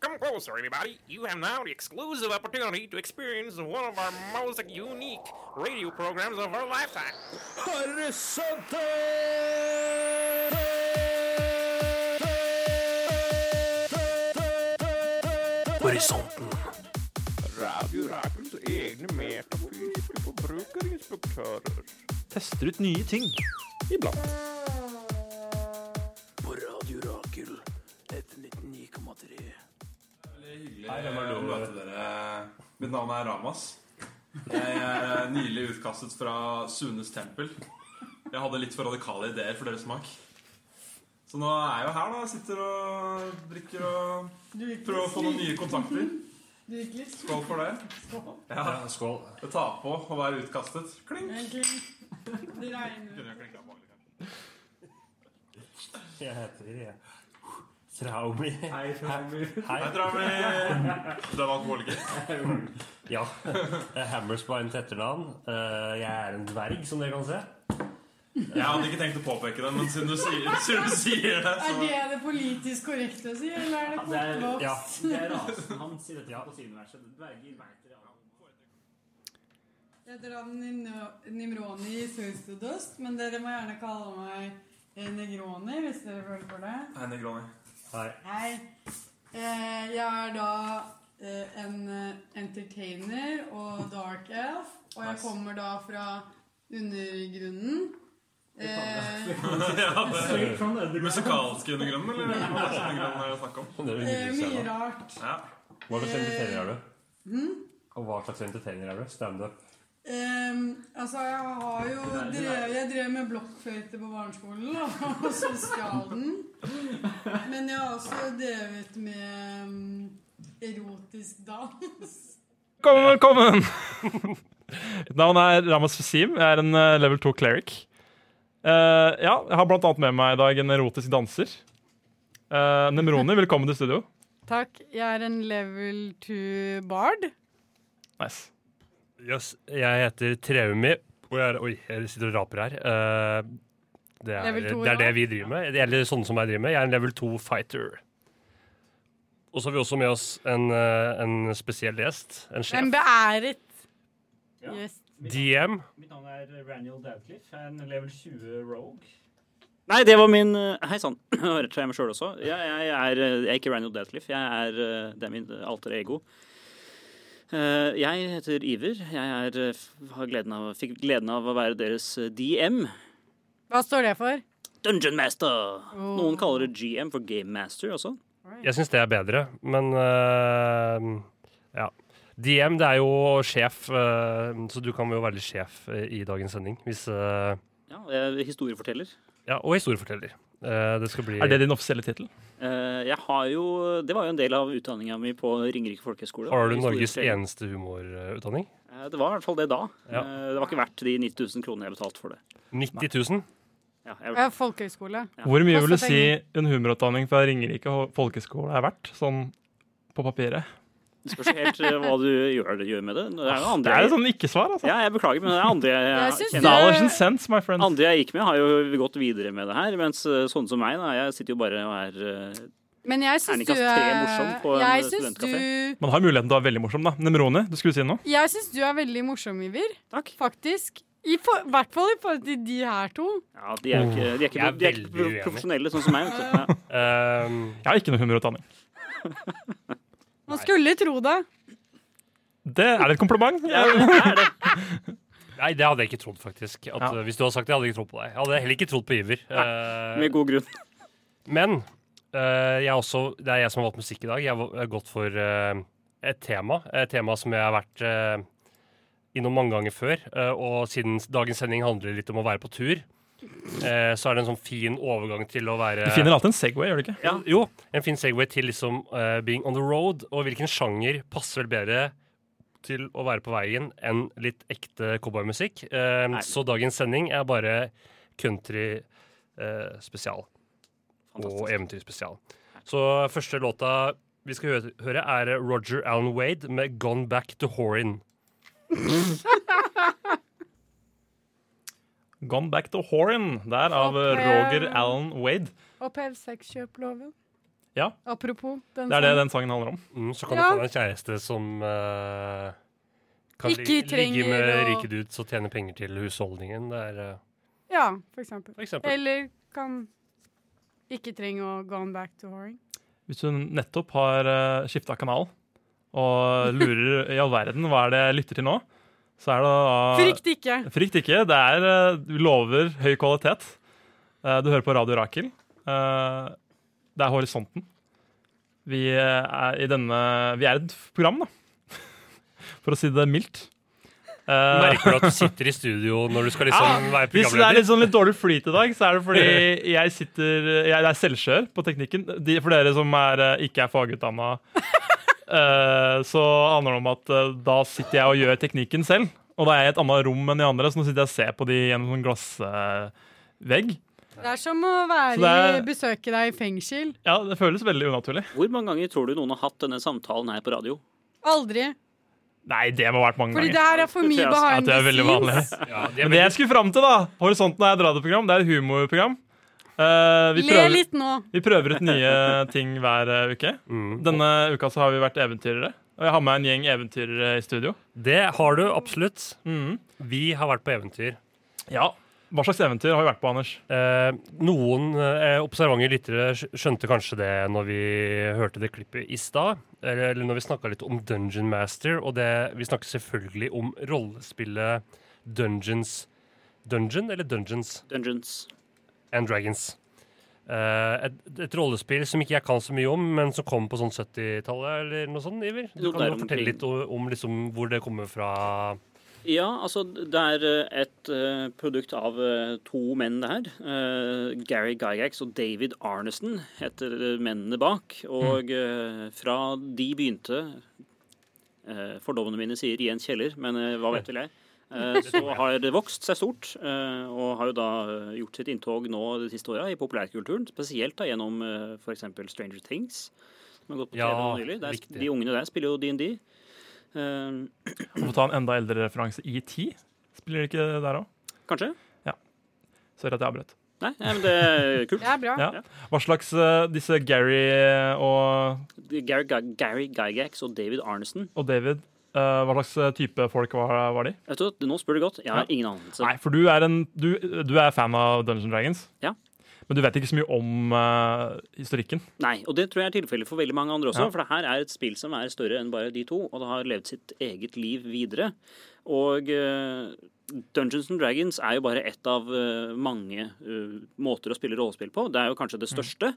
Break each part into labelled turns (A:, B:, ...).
A: Come closer, everybody. You have now the exclusive opportunity to experience one of our most unique radio programs of our lifetime.
B: Horisonte!
C: Horisonten.
B: Radio Rakels egne metafysiske forbrukerinspektører.
C: Tester ut nye ting.
B: Iblant.
C: På Radio Rakel F99,3.
D: Hei, det var lov å møte dere. Mitt navn er Ramas. Jeg er eh, nylig utkastet fra Sunes tempel. Jeg hadde litt for radikale ideer for deres smak. Så nå er jeg jo her, da. Sitter og drikker og prøver å få noen nye kontakter. Skål for det. Ja,
C: Skål.
D: Det tar på å være utkastet. Kling!
E: Det regner.
D: Kunne jeg klinket på alle, kanskje?
F: Jeg heter Traumi.
D: Hei, Tommy.
F: Hei.
D: Hei, Tommy. Du er alkoholiker?
F: Ja. Det er Hammerspine til etternavn. Eh, Jeg er en dverg, som dere kan se.
D: Jeg hadde ikke tenkt å påpeke det, men siden du sier, siden du sier det,
E: Er
D: så
E: det det politisk korrekte å si, eller er det
G: det er-
E: kortvokst?
F: Ja.
G: Det er rasen hans i dette ja. fantasiuniverset. Dverger veit dere alle.
E: Jeg heter Ann Nimro- Nimroni i Source to Dust, men dere må gjerne kalle meg eh, Negroni hvis dere føler for det.
D: Hei, Negroni.
F: Hei.
E: Hei. Eh, Jeg er da eh, en eh, entertainer og dark elf, og jeg
D: Nice.
E: kommer da fra undergrunnen. Eh,
G: Straight from the underground.
D: Musikalske undergrunnen, eller? Hva slags undergrunnen er det snakk om?
F: Det er Eh,
E: eh,
F: hyggelig å se
E: mye
F: deg.
E: rart.
D: Ja.
F: Hva slags entertainer er du? hmm? Og hva slags entertainer er du? Standup?
E: Ehm, altså, jeg har jo
G: er- det er-
E: drev, Jeg drev med blokkfløyte på barneskolen og og sosialen. Men jeg har også drevet med ehm, erotisk dans.
H: Velkommen, velkommen! Mitt navn er Ramas Fasim. Jeg er en eh, level 2 cleric. Eh, ja, jeg har blant annet med meg i dag en erotisk danser. Eh, Nemroni, velkommen til studio.
E: Takk. Jeg er en level 2 bard.
H: Nice.
F: Jøss. Jeg heter Traumi. Og jeg, oi, jeg sitter og raper her. Eh, Det
E: er- Level to, det er ja. det
F: vi driver med. Eller sånne som jeg driver med. Jeg er en level 2-fighter. Og så har vi også med oss en, spesiell gjest. En
E: En beæret
G: Ja.
E: gjest.
F: DM.
G: Mitt navn er Raniel Dowcliffe. Jeg er en level 20 rogue.
I: Nei, det var min eh, Hei sann. Jeg har rett og slett meg sjøl også. Jeg, jeg, er, eh, jeg er ikke Raniel Deathliff. Jeg er eh, Det er min alter ego. Eh, Jeg heter Iver. Jeg er, eh, f- har gleden av, fikk gleden av å være deres eh, DM.
E: Hva står det for?
I: Dungeon Master! Noen kaller det GM for Game Master også.
F: Jeg syns det er bedre, men øh, ja. DM, det er jo sjef, øh, så du kan jo være litt sjef øh, i dagens sending. Hvis, øh,
I: Ja, jeg er historieforteller.
F: ja, og historieforteller. Eh, det skal bli
H: Er det din offisielle tittel?
I: Eh, Jeg har jo Det var jo en del av utdanninga mi på Ringerike folkehøgskole.
F: Har du Norges
I: Historieforteller.
F: eneste humorutdanning?
I: Eh, Det var i hvert fall det da.
F: Ja.
I: Eh, Det var ikke verdt de 90 000 kronene jeg betalte for det.
F: 90 000?
I: Ja, jeg,
E: Ja, folkehøyskole.
H: Hvor mye vil du
E: Masse
H: si en humorutdanning fra Ringerike ho- folkeskole er verdt, sånn på papiret?
I: det spørs jo helt eh, hva du gjør, gjør med det. Det
F: Ah,
I: er jo
H: Det
I: andre
H: er et sånn ikke-svar, altså.
I: Ja, jeg beklager, men det er andre
E: Jeg
I: jeg,
E: syns
I: kjenner.
H: Knowledge and sense, my friend.
I: Andre jeg gikk med, har jo gått videre med det her. Mens eh, sånne som meg, da, jeg sitter jo bare og er eh,
E: Men jeg
I: Er den
E: syns du
I: ikke altså tre morsom på en
E: Jeg syns du
I: studentkafé?
H: Man har muligheten til å være veldig morsom, da. Nemroni, du skulle si noe?
E: Jeg syns du er veldig morsom, Iver.
I: Takk.
E: Faktisk. I for, hvert fall i forhold til de her to.
I: Ja, de er jo ikke, de er ikke,
F: Jeg er
I: de er ikke
F: veldig uenig.
I: profesjonelle, sånn som meg. vet du. Ja.
F: Eh,
H: Jeg har ikke noe humorutdanning.
E: Man skulle tro det.
H: Det er det et kompliment. Jeg-
F: nei, det hadde jeg ikke trodd, faktisk. At,
H: Ja.
F: eh, Hvis du hadde sagt det, hadde jeg ikke trodd på deg. Jeg hadde heller ikke trodd på Iver. Eh,
I: Med god grunn.
F: Men eh, jeg er også, det er jeg som har valgt musikk i dag. Jeg har val- jeg har gått for eh, et tema. Et tema som jeg har vært eh, innom mange ganger før. eh, og siden s- dagens sending handler litt om å være på tur, eh, så er det en sånn fin overgang til å være
H: Du finner alltid en Segway, gjør du ikke?
I: Ja.
F: Jo, en fin segway til liksom eh, being on the road. Og hvilken sjanger passer vel bedre til å være på veien enn litt ekte cowboymusikk. Eh,
I: Nei.
F: så dagens sending er bare country eh, spesial og
I: Fantastisk.
F: eventyrspesial. Så første låta vi skal hø- høre, er Roger Allen Wade med 'Gone Back to Horin'.
H: Gone Back to Horin, der av eh,
E: Ok.
H: Roger Allen Wade.
E: Opphev sexkjøploven.
H: Ja.
E: Apropos den
H: Det er det den sangen handler om.
F: Mm, så kan
E: Ja.
F: du få deg en kjæreste som eh, kan
E: Ikke
F: ligge- ligge
E: trenger
F: med
E: å-
F: rike dudes og tjene penger til husholdningen. Det er eh,
E: Ja, for eksempel.
F: for eksempel.
E: Eller kan ikke trenge å gone back to whoring.
H: Hvis du nettopp har uh, skifta kanal og lurer i all verden hva er det jeg lytter til nå, så er det da
E: Frykt ikke!
H: Frykt ikke. Det er, eh, du lover høy kvalitet. Eh, Du hører på Radio Rakel. Eh, Det er horisonten. Vi eh, er i denne Vi er et program, da. For å si det mildt. Eh,
F: Merker du at du sitter i studio når du skal liksom være
H: hvis det er litt,
F: programleder?
H: sånn litt dårlig flyt i dag, så er det fordi jeg sitter Jeg er selvskjør på teknikken. De, for dere som er, eh, ikke er fagutdanna, eh, så handler det om at eh, da sitter jeg og gjør teknikken selv. Og da er jeg i et annet rom enn de andre, så nå sitter jeg og ser på de gjennom sånn glassvegg.
E: Det er som å være
H: Så det er-
E: i besøke deg i fengsel.
H: Ja, det føles veldig unaturlig.
I: Hvor mange ganger tror du noen har hatt denne samtalen her på radio?
E: Aldri.
H: Nei, det må ha vært mange
E: Fordi det
H: ganger.
E: her er for mye
I: Ja,
H: At
E: behind
H: det
E: the
H: er veldig vanlig.
E: scenes.
F: Ja, de er
H: Men det jeg skulle fram til, da Horisonten er et radioprogram. Det er et humorprogram. Eh, vi,
E: Le
H: prøver,
E: litt nå.
H: vi prøver ut nye ting hver eh, uke.
F: Mm.
H: Denne uka så har vi vært eventyrere. Og jeg har med en gjeng eventyrere i studio.
F: Det har du absolutt.
H: Mhm.
F: Vi har vært på eventyr.
H: Ja, Hva slags eventyr har vi vært på, Anders?
F: Eh, noen eh, observante lyttere skj- skjønte kanskje det når vi hørte det klippet i stad. Eller, eller når vi snakka litt om Dungeon Master, og det, vi snakker selvfølgelig om rollespillet Dungeons Dungeon eller Dungeons
I: Dungeons.
F: and Dragons. Eh, et, et rollespill som ikke jeg kan så mye om, men som kom på sånn 70-tallet eller noe sånt, Iver? Du
I: Jo,
F: kan
I: der
F: jo fortelle
I: omkring.
F: litt om, om liksom hvor det kommer fra.
I: Ja, altså det er eh, et eh, produkt av eh, to menn det her. Eh, Gary Gygax og David Arneson heter eh, mennene bak. Og eh, fra de begynte eh, Fordommene mine sier i en kjeller, men eh, hva vet vel jeg. eh, Så har det vokst seg stort, eh, og har jo da eh, gjort sitt inntog nå det siste året i populærkulturen. Spesielt da gjennom f.eks. Stranger Things, som har gått på TV
F: Ja,
I: nå nylig. Der,
F: riktig.
I: de ungene der spiller jo DND. Eh,
H: Få ta en enda eldre referanse. ET? Spiller de ikke det der òg?
I: Kanskje?
H: Sorry at jeg avbrøt.
I: Nei, nei, men det er kult.
E: Det er bra.
H: Ja. Hva slags eh, disse Gary eh, og,
I: Gary, Gy- Gary Gygax og David Arneson.
H: og David eh, Hva slags eh, type folk var, var de?
I: Vet du, hva, nå spør du godt. Jeg har ingen anelse.
H: Nei, for du er, en, du, du er fan av Dungeons Dragons.
I: Ja.
H: Men du vet ikke så mye om eh, historikken.
I: Nei, Og det tror jeg er tilfellet for veldig mange andre også.
H: Ja.
I: For det her er et spill som er større enn bare de to, og det har levd sitt eget liv videre. Og eh, Dungeons and Dragons er jo bare ett av eh, mange eh, måter å spille rollespill på. Det er jo kanskje det største.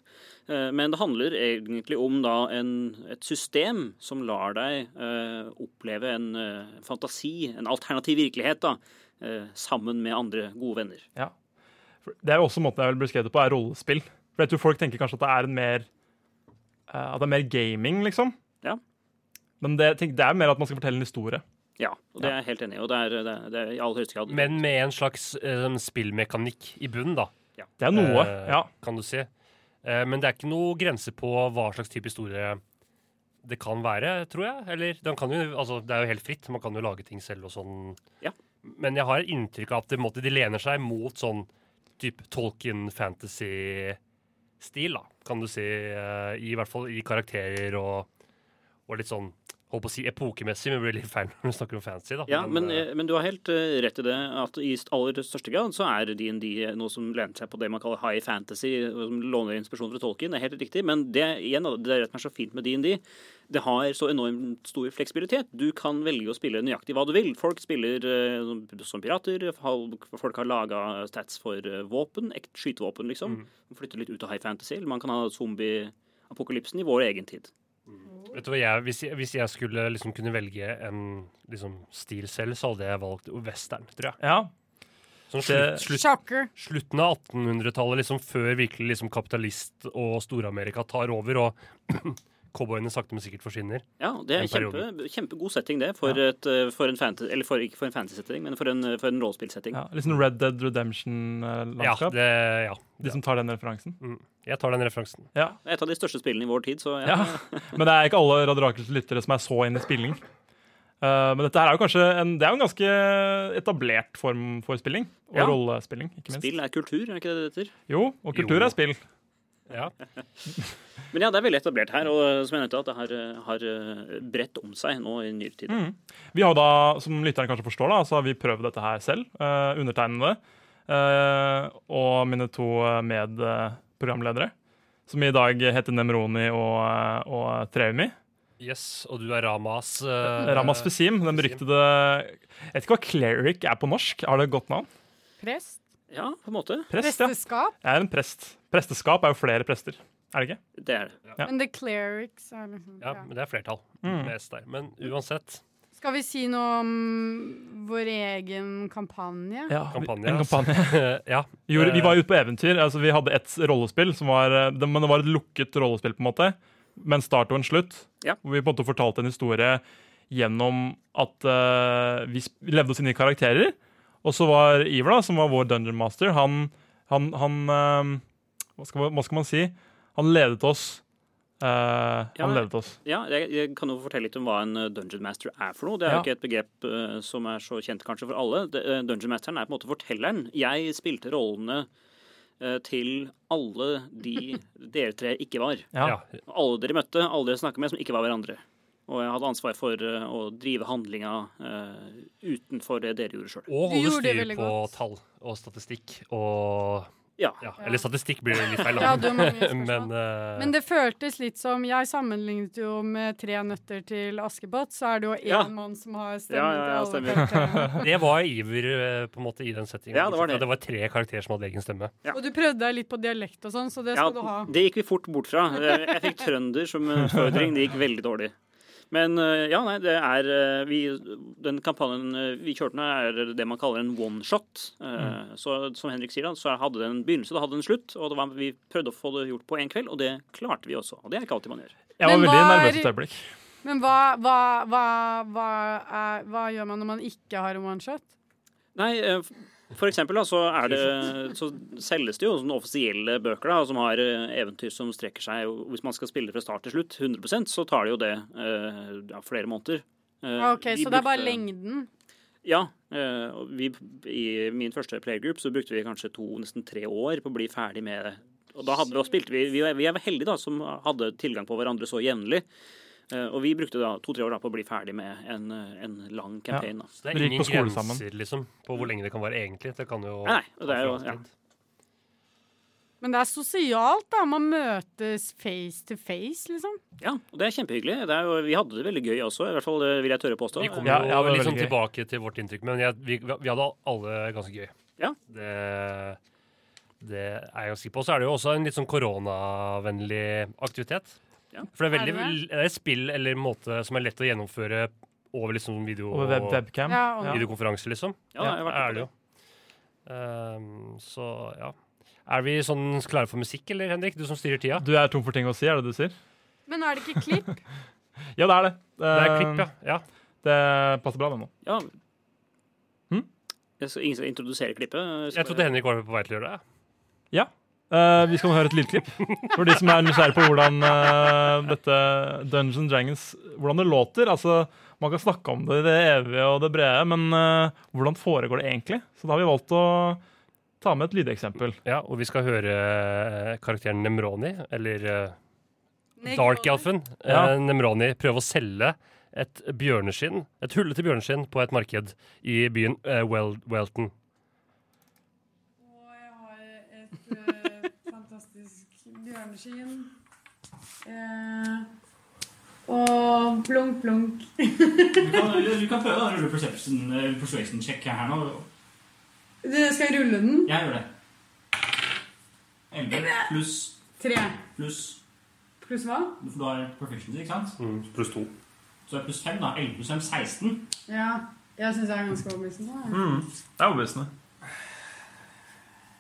I: Eh, men det handler egentlig om da en, et system som lar deg eh, oppleve en eh, fantasi, en alternativ virkelighet, da, eh, sammen med andre gode venner.
H: For Det er jo også måten jeg vil beskrive det på, er rollespill. For jeg tror folk tenker kanskje at det er en mer eh, At det er mer gaming, liksom.
I: Ja.
H: Men det, tenk, det er mer at man skal fortelle en historie.
I: Ja, og det er jeg helt enig i. Og det er, det er, det er i aller høyeste grad
F: Men med en slags eh, spillmekanikk i bunnen, da.
H: Det er noe.
F: eh,
H: ja.
F: kan du si. Eh, men det er ikke noe grense på hva slags type historie det kan være, tror jeg. Eller, den kan jo, altså, det er jo helt fritt, man kan jo lage ting selv og sånn.
I: Ja.
F: Men jeg har inntrykk av at det, på en måte, de lener seg mot sånn type Tolkien-fantasy-stil, da, kan du si. eh, I hvert fall i karakterer og, og litt sånn Holdt på å si epokemessig, men det blir litt feil når du snakker om fantasy. da.
I: Ja, men,
F: eh,
I: eh, men du har helt eh, rett i det at i st- aller største grad så er DND eh, noe som lener seg på det man kaller high fantasy, og som låner inspirasjon fra Tolkien. Det er helt riktig. Men det igjen, da, det er rett og slett så fint med DND. Det har så enormt stor fleksibilitet. Du kan velge å spille nøyaktig hva du vil. Folk spiller eh, som- som pirater, hal- folk har laga stats for eh, våpen, ek- skytevåpen, liksom.
F: Mm.
I: Flytter litt ut av high fantasy. eller Man kan ha zombie-apokalypsen i vår egen tid.
F: Vet du hva jeg, hvis, jeg, hvis jeg skulle liksom kunne velge en liksom, stil selv, så hadde jeg valgt western, tror jeg.
H: ja.
F: Sånn
H: Det-
F: slutt, slutt,
E: Shocker.
F: slutten av 1800-tallet, liksom før virkelig liksom, kapitalist og Stor-Amerika tar over, og cowboyene sakte, men sikkert forsvinner.
I: Ja, det er
F: den
I: kjempe,
F: perioden.
I: kjempegod setting, det. For, et, eh, for en fantasy, eller for, ikke for en fantasy-setting, men for en, eh, for en rollespillsetting.
H: ja. Litt sånn Red Dead
F: Ja,
H: Redemption-landskap.
F: det, Mm. ja.
H: De som tar den referansen.
F: Jeg tar den referansen.
H: Ja.
I: Det er Et av de største spillene i vår tid, så ja.
H: Ja. Men det er ikke alle Radio Rakels lyttere som er så inn i spilling. Eh, men dette her er jo kanskje en, det er jo en ganske etablert form for spilling. Og
I: Ja.
H: rollespilling, ikke minst.
I: Spill er kultur, er ikke det det heter?
H: Jo, og kultur
F: Jo.
H: er spill.
I: Men ja, det er veldig etablert her, og eh, som jeg nevnte, at det har, eh, har eh, bredt om seg nå i nyere tid.
H: Mm. Vi har jo da, som lytteren kanskje forstår, da, så har vi prøvd dette her selv. eh, undertegnede eh, og mine to eh, medprogramledere, som i dag heter Nemroni og, eh, og Trevimi.
F: Yes, og du er Ramas eh,
H: Ramas Fesim, den beryktede Jeg vet ikke hva cleric er på norsk. Har det et godt navn?
E: Prest?
I: Ja, på en måte.
H: Prest, ja.
E: Presteskap?
H: Jeg er en prest. Presteskap er jo flere prester, er det ikke?
I: Det er det.
E: Men the clerics er liksom
F: Ja, men det er flertall.
H: Mm.
F: Med S der. Men uansett.
E: Skal vi si noe om vår egen kampanje?
H: Ja,
F: Kampanje,
H: vi- En
F: altså.
H: kampanje.
F: Ja.
H: Gjorde,
F: Eh.
H: vi var ute på eventyr. Altså, vi hadde et rollespill, som var, eh, det, men det var et lukket rollespill, på en måte, med en start og en slutt.
I: Ja.
H: Hvor vi på en måte fortalte en historie gjennom at eh, vi sp- vi levde oss inn i karakterer. Og så var Iver, da, som var vår dungeon master, han, han, han eh, hva, skal, man- hva skal man si? Han ledet oss. Eh, han
I: men-
H: ledet oss.
I: Ja, jeg, jeg kan jo fortelle litt om hva en eh, Dungeon Master er for noe. Det er
H: Ja.
I: jo ikke et begrep eh, som er så kjent kanskje for alle. Det- eh, Dungeon Masteren er på en måte fortelleren. Jeg spilte rollene eh, til alle de dere tre ikke var.
H: Ja.
I: Alle dere møtte, alle dere snakket med som ikke var hverandre. Og jeg hadde ansvar for eh, å drive handlinga eh, utenfor det dere gjorde sjøl.
F: Og
E: Du
F: holde
E: gjorde det
F: styr
E: veldig
F: på tall og statistikk og
I: Ja.
F: ja. Eller statistikk blir det litt feil,
E: Ja, du har mange spørsmål.
F: men, eh,
E: Men det føltes litt som Jeg sammenlignet jo med Tre nøtter til Askepott, så er det jo én
I: Ja.
E: mann som har
I: Ja,
E: stemmen
I: ja, ja,
E: til alle
I: stemmer.
E: karakterene.
F: det var Iver eh, på en måte i den settingen.
I: Ja, det var det.
F: det var tre karakterer som hadde egen stemme.
I: Ja.
E: Og du prøvde deg litt på dialekt og sånn, så det
I: Ja,
E: skal du ha.
I: det gikk vi fort bort fra. Eh, Jeg fikk trønder som utfordring. Det gikk veldig dårlig. Men eh, ja, nei, det er eh, vi, Den kampanjen eh, vi kjørte nå, er det man kaller en one shot. Eh, Så som Henrik sier, da, så hadde det en begynnelse, det hadde en slutt. Og det var, vi prøvde å få det gjort på én kveld, og det klarte vi også. Og det er ikke alltid man gjør.
H: Jeg var
E: Men
H: veldig
E: hva
H: nervøs
E: er-
H: et øyeblikk.
E: Men hva, hva, hva, hva, er, hva gjør man når man ikke har en oneshot?
I: Nei, eh, f- for eksempel da, så, er det, så selges det jo sånne offisielle bøker da, som har eh, eventyr som strekker seg. og Hvis man skal spille fra start til slutt, 100 så tar det jo det eh, ja, flere måneder. Eh,
E: Ah, OK,
I: vi
E: så det er bare
I: brukte-
E: lengden.
I: Ja. eh, og vi, I min første playgroup så brukte vi kanskje to, nesten tre år på å bli ferdig med det. Og da hadde vi, og spilte vi, vi, vi er heldige da, som hadde tilgang på hverandre så jevnlig. Eh, og vi brukte da to-tre år da, på å bli ferdig med en, eh, en lang campaign. Da.
F: Så det er
H: Vi gikk
F: ingen
H: på skole sammen.
F: grenser liksom, på hvor lenge det kan være egentlig. Det kan jo
I: Nei, nei, og det er
F: ta
I: jo-
F: for lang tid.
E: Men det er sosialt, da. Man møtes face to face, liksom.
I: Ja, og det er kjempehyggelig. Det er jo, vi hadde det veldig gøy også, i hvert fall det vil jeg tørre å påstå.
F: Vi kom
H: Ja,
F: jo
H: ja, det var
F: litt sånn
H: veldig gøy.
F: tilbake til vårt inntrykk, men jeg, vi, vi hadde alle ganske gøy.
I: Ja.
F: Det, det er jeg ganske på. Så er det jo også en litt sånn koronavennlig aktivitet.
I: Ja.
F: For det er
E: Er det
F: veldig det er et spill eller en måte som er lett å gjennomføre over liksom video,
H: Over web webcam.
E: Ja, og-
F: videokonferanse, liksom.
I: Ja, jeg har vært
F: er det jo. Ehm, så ja. Er vi sånn klare for musikk, eller Henrik? Du som styrer tida.
H: Du er tom for ting å si, er det det du sier?
E: Men er det ikke klipp?
H: Ja, det er det.
F: Det er klipp, ja. ja.
H: Det passer bra, det nå.
I: Ja.
H: Hm?
I: Jeg skal ingen skal introdusere klippet.
F: Jeg trodde Henrik var på vei til å gjøre det.
H: Eh, vi skal høre et lydklipp for de som er nysgjerrige på hvordan eh, dette Dungeons and Dragons hvordan det låter. Altså, Man kan snakke om det i det evige og det brede, men eh, hvordan foregår det egentlig? Så da har vi valgt å ta med et lydeksempel.
F: Ja, og vi skal høre eh, karakteren Nemroni, eller eh,
E: Nei,
F: Dark Elfen.
H: Ja.
F: Eh, Nemroni prøver å selge et bjørneskinn, et hullete bjørneskinn på et marked i byen eh, Wel Welton.
J: Og jeg har et eh, fantastisk bjørneskinn. Eh, og plunk, plunk.
G: Du kan, du kan prøve å rulle perception, eh, persuasion check her nå.
J: Det- Skal jeg rulle den?
G: Jeg gjør det. 11 pluss
J: Tre.
G: pluss
J: Pluss hva?
G: For du har perfection, ikke sant?
F: Mm, pluss to.
G: Så det er pluss 5, da. 11 pluss 5, 16.
J: Ja. Jeg syns jeg er ganske overbevisende. jeg.
I: Mm.
D: Det er overbevisende.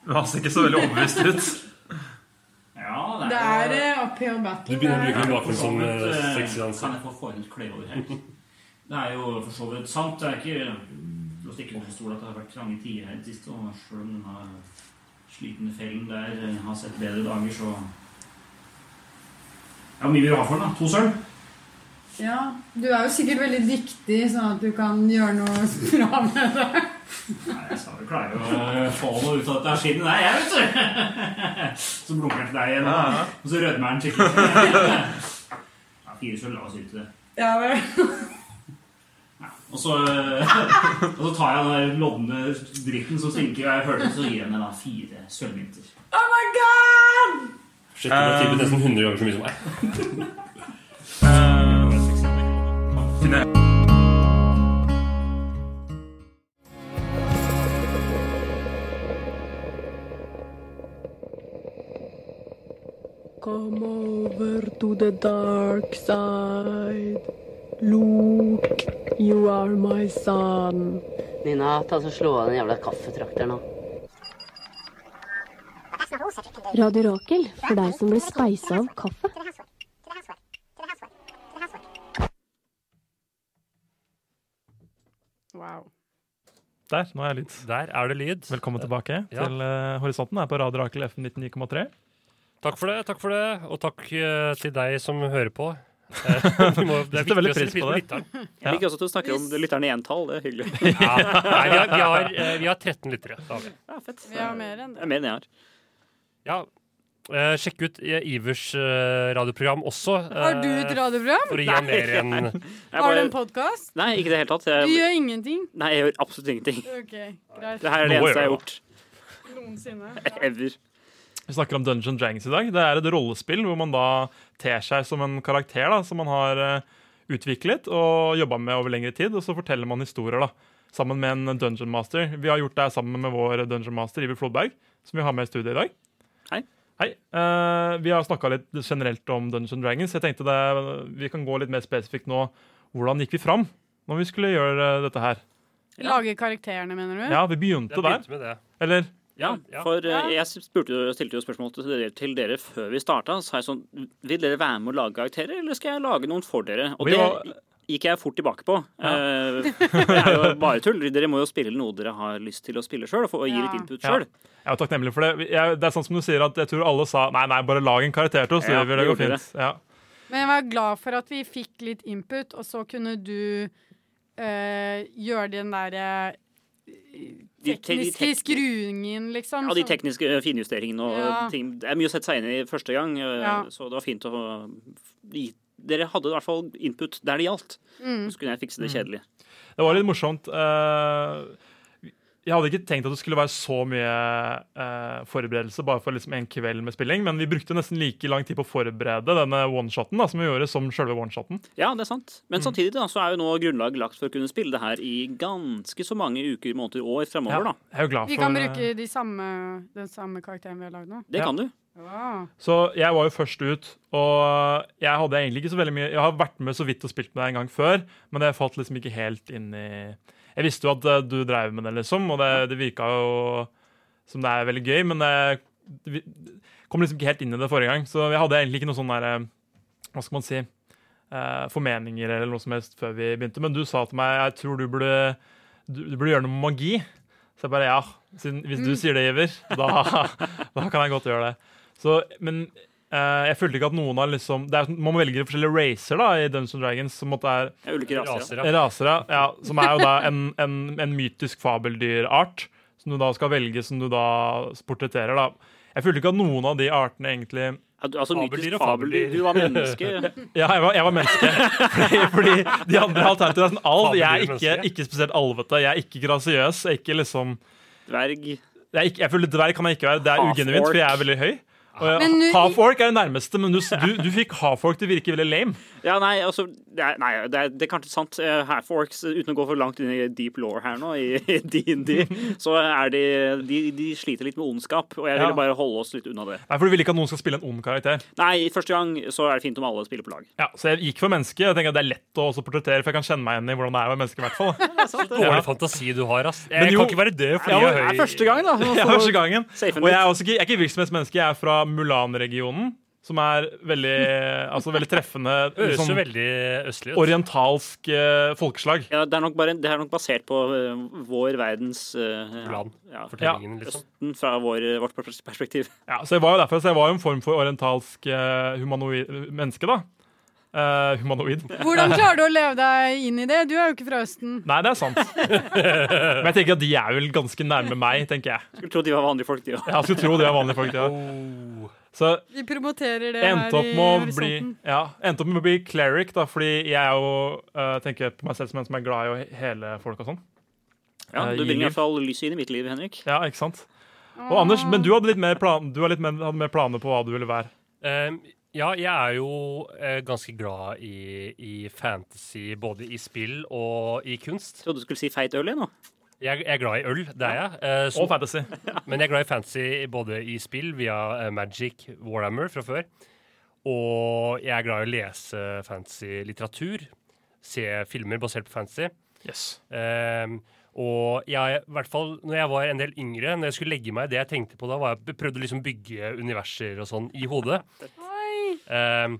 D: Du ser ikke så veldig overbevist ut.
G: Ja,
J: Det er eh, uphill battle. det er-
F: bakgrunn som, eh,
G: For så vidt, eh,
F: sexdanser.
G: Kan jeg få forhånds kløy over her? Det er jo for så vidt sant. Det er ikke til å stikke under stol at det har vært trange tider her i det siste. Og selv om den har slitne fellen der eh, har sett bedre dager, så Ja, hvor mye vil du ha for den? da? To sølv?
J: Ja, du er jo sikkert veldig dyktig, sånn at du kan gjøre noe bra med det.
G: Nei, jeg sa du klarer jo å eh, få noe ut av dette her siden. Nei, jeg vet du! Så blunker han til deg igjen,
D: Ja, ja.
G: og så rødmer han skikkelig. Ja, fire, så la oss ut til det.
J: Ja vel.
G: Og så, eh, og så tar jeg den der lodne dritten som stinker, og jeg hører det, så gir jeg henne da fire sølvmynter.
J: Oh my god!
F: Shit, du har tippet nesten 100 ganger så mye som meg.
K: Come over to the dark side. Luke, you are my son.
L: Nina, ta så slå av den jævla kaffetrakteren nå.
K: Radio Rakel, for deg som blir speisa av kaffe.
E: Wow.
H: Der, nå er jeg lyd.
F: Der er det lyd.
H: Velkommen tilbake
F: Ja.
H: til eh, Horisonten her på Radio Rakel FM 99,3.
F: Takk for det, takk for det, og takk eh, til deg som hører på. Eh, vi må- det er
H: Setter
F: viktig
H: veldig
F: å
H: pris
F: spille
H: på det.
F: lytteren.
I: Jeg liker også at du snakker om lytterne i entall. Det er hyggelig.
F: Ja. Nei, vi, har, vi, har, eh, vi har 13 lyttere. det har vi.
I: Ja, fett.
E: Vi har mer enn
I: Det
E: det.
I: er mer enn jeg har.
F: Ja. Eh, sjekk ut eh, Ivers eh, radioprogram også. eh,
E: Har du et radioprogram?
F: For å gi ham mer enn
I: Jeg
E: Har du
I: bare,
E: en podkast?
I: nei, ikke i det hele tatt.
E: Du
I: Jeg,
E: gjør ingenting?
I: nei, jeg gjør absolutt ingenting.
E: OK, greit.
I: Det her er det
F: Nå
I: eneste jeg har
F: gjør
I: gjort.
E: Noensinne.
I: Ever.
H: Vi snakker om Dungeons Dragons i dag. Det er et rollespill hvor man da ter seg som en karakter da, som man har eh, utviklet og jobba med over lengre tid, og så forteller man historier da, sammen med en Dungeon Master. Vi har gjort det her sammen med vår Dungeon Master, Iver Flodberg, som vi har med i studiet i dag.
I: Hei.
H: Hei. Eh, vi har snakka litt generelt om Dungeons Dragons. Jeg tenkte det, vi kan gå litt mer spesifikt nå. Hvordan gikk vi fram når vi skulle gjøre eh, dette her?
E: Lage karakterene, mener du?
H: Ja, vi begynte
F: Jeg
H: der.
F: begynte med det.
H: Eller?
I: Ja,
F: Ja.
I: for eh,
E: Ja.
I: jeg spurte, jo- stilte jo spørsmål til dere, til dere før vi starta. Så sa jeg sånn Vil dere være med å lage karakterer, eller skal jeg lage noen for dere? Og
H: Vi
I: det
H: var-
I: gikk jeg fort tilbake på. Eh, det er jo bare tull. Dere må jo spille noe dere har lyst til å spille sjøl, og få og gi litt
E: Ja.
I: input
H: Ja.
I: sjøl.
H: Jeg er jo takknemlig for det. Jeg, det er sånn som du sier at jeg tror alle sa nei, nei, bare lag en karakter til oss.
I: Ja,
H: det vil- det går
I: vi gjorde
H: fint. Ja.
E: Men jeg var glad for at vi fikk litt input, og så kunne du eh, gjøre den derre
I: De te- de
E: tekniske
I: tek-
E: skruingen, liksom.
I: Ja, de
E: som-
I: tekniske eh, finjusteringene og
E: Ja.
I: ting. Det er mye å sette seg inn i første gang, eh,
E: Ja.
I: så det var fint å gi Dere hadde i hvert fall input der det gjaldt.
E: Mm.
I: Så kunne jeg fikse det
H: Mm.
I: kjedelig.
H: Det var litt morsomt. eh, jeg hadde ikke tenkt at det skulle være så mye eh, forberedelse bare for liksom en kveld med spilling, men vi brukte nesten like lang tid på å forberede denne one-shotten da, som vi gjorde som selve one-shotten.
I: Ja, det er sant.
H: Mm.
I: Men samtidig da, så er jo nå grunnlag lagt for å kunne spille det her i ganske så mange uker, måneder, år fremover,
H: Ja,
I: da.
H: jeg er jo glad
E: Vi
H: for
E: kan
H: eh,
E: bruke de samme, den samme karakteren vi har lagd nå.
I: Det
H: Ja.
I: kan du.
E: Wow.
H: Så jeg var jo først ut, og jeg hadde egentlig ikke så veldig mye Jeg har vært med så vidt og spilt med deg en gang før, men det falt liksom ikke helt inn i Jeg visste jo at eh, du drev med det, liksom, og det, det virka jo som det er veldig gøy, men det, det vi- kom liksom ikke helt inn i det forrige gang, så jeg hadde egentlig ikke noe sånn derre Hva skal man si eh, Formeninger eller noe som helst før vi begynte, men du sa til meg jeg tror du burde, du, du burde gjøre noe med magi. Så jeg bare ja, siden, hvis du sier det, Iver, da, da kan jeg godt gjøre det. Så, men eh, jeg følte ikke at noen har liksom det er, sånn- Man velger forskjellige racer da, i Dungeons and Dragons, som måtte er
I: Ja, ulike
H: altså,
I: raser.
F: Raser, ja.
H: rasere, ja, som er jo da en, en, en mytisk fabeldyrart, som du da skal velge, som du da portretterer. da. Jeg følte ikke at noen av de artene egentlig
I: Ja, du- Altså
F: Fabeldyr og
I: mytisk fabeldyr.
F: fabeldyr.
I: Du var menneske.
H: Ja, jeg var, jeg var menneske. Fordi, fordi de andre alternativene er sånn alv. Jeg er ikke,
F: Fabeldyr menneske.
H: ikke spesielt alvete. Jeg er ikke grasiøs. Jeg er ikke liksom
I: Dverg.
H: jeg, er ikke, jeg føler Dverg kan jeg ikke være. Det er
I: Half-orc.
H: ugenuint, for jeg er veldig høy. Og
E: Men
H: jeg-
E: nu-
H: Half-orc er det nærmeste, men du, du, du fikk half-orc til å virke veldig lame.
I: Ja, nei, altså Det er, nei, det er, det er kanskje sant. eh, Her for Orcs, uten å gå for langt inn i deep law her nå, i i D&D, så er de, de De sliter litt med ondskap, og jeg
H: Ja.
I: ville bare holde oss litt unna det.
H: Nei, for Du vil ikke at noen skal spille en ond karakter.
I: Nei, første gang så er det fint om alle spiller på lag.
H: Ja, Så jeg gikk for menneske. Jeg tenker at Det er lett å også portrettere, for jeg kan kjenne meg igjen i hvordan det er å være menneske. i hvert fall.
F: Dårlig fantasi du har, ass.
H: Altså, Men
F: Jeg
H: jo-
F: kan ikke være død fordi
I: Ja,
F: jeg
I: det
F: er
I: er
F: høy.
I: første gang, da. så-
H: Ja, første gangen.
I: Safe and
H: Og jeg er
I: good.
H: også ikke, jeg er ikke virksomhetsmenneske. Jeg er fra Mulan-regionen, som er veldig, altså, veldig treffende
F: Høres jo
H: sånn
F: veldig østlig ut.
H: orientalsk eh, folkeslag.
I: Ja, det, er nok bare, det er nok basert på eh, vår verdens eh,
F: Plan.
I: Ja,
F: Fortellingen, liksom.
I: Østen fra vår, eh, vårt perspektiv.
H: Ja, så jeg var jo derfor, så jeg var jo en form for orientalsk eh, humanoid menneske, da. eh, humanoid.
E: Hvordan klarer du å leve deg inn i det? Du er jo ikke fra Østen.
H: Nei, det er sant. Men jeg tenker at de er vel ganske nærme meg, tenker jeg.
I: Skulle tro de var vanlige folk, de òg.
H: Ja, jeg skulle tro de er vanlige folk, de òg. Så
E: Vi promoterer det
H: jeg endte
E: her
H: opp
E: i
H: med å bli,
E: horisonten.
H: ja, endte opp med å bli cleric, da, fordi jeg er jo eh, tenker på meg selv som en som er glad i å hele folk og sånn.
I: Ja,
H: Eh,
I: du
H: i
I: bringer i
H: liv.
I: hvert fall lyset inn i mitt liv, Henrik.
H: Ja, ikke sant? Og Anders, men du hadde litt mer, plan, du hadde litt mer, hadde mer planer på hva du ville være.
F: Ehm, ja, jeg er jo eh, ganske glad i, i fantasy, både i spill og i kunst.
I: Trodde du skulle si feit øl igjen nå.
F: Jeg, jeg er glad i øl, det er jeg. Eh,
H: Og fantasy.
F: men jeg er glad i fantasy både i spill via eh, Magic, Warhammer fra før, og jeg er glad i å lese fantasy-litteratur, se filmer basert på fantasy.
H: Yes.
F: Ehm, og jeg, i hvert fall når jeg var en del yngre, når jeg skulle legge meg, det jeg tenkte på da, var jeg prøvde å liksom bygge universer og sånn i hodet. Ehm,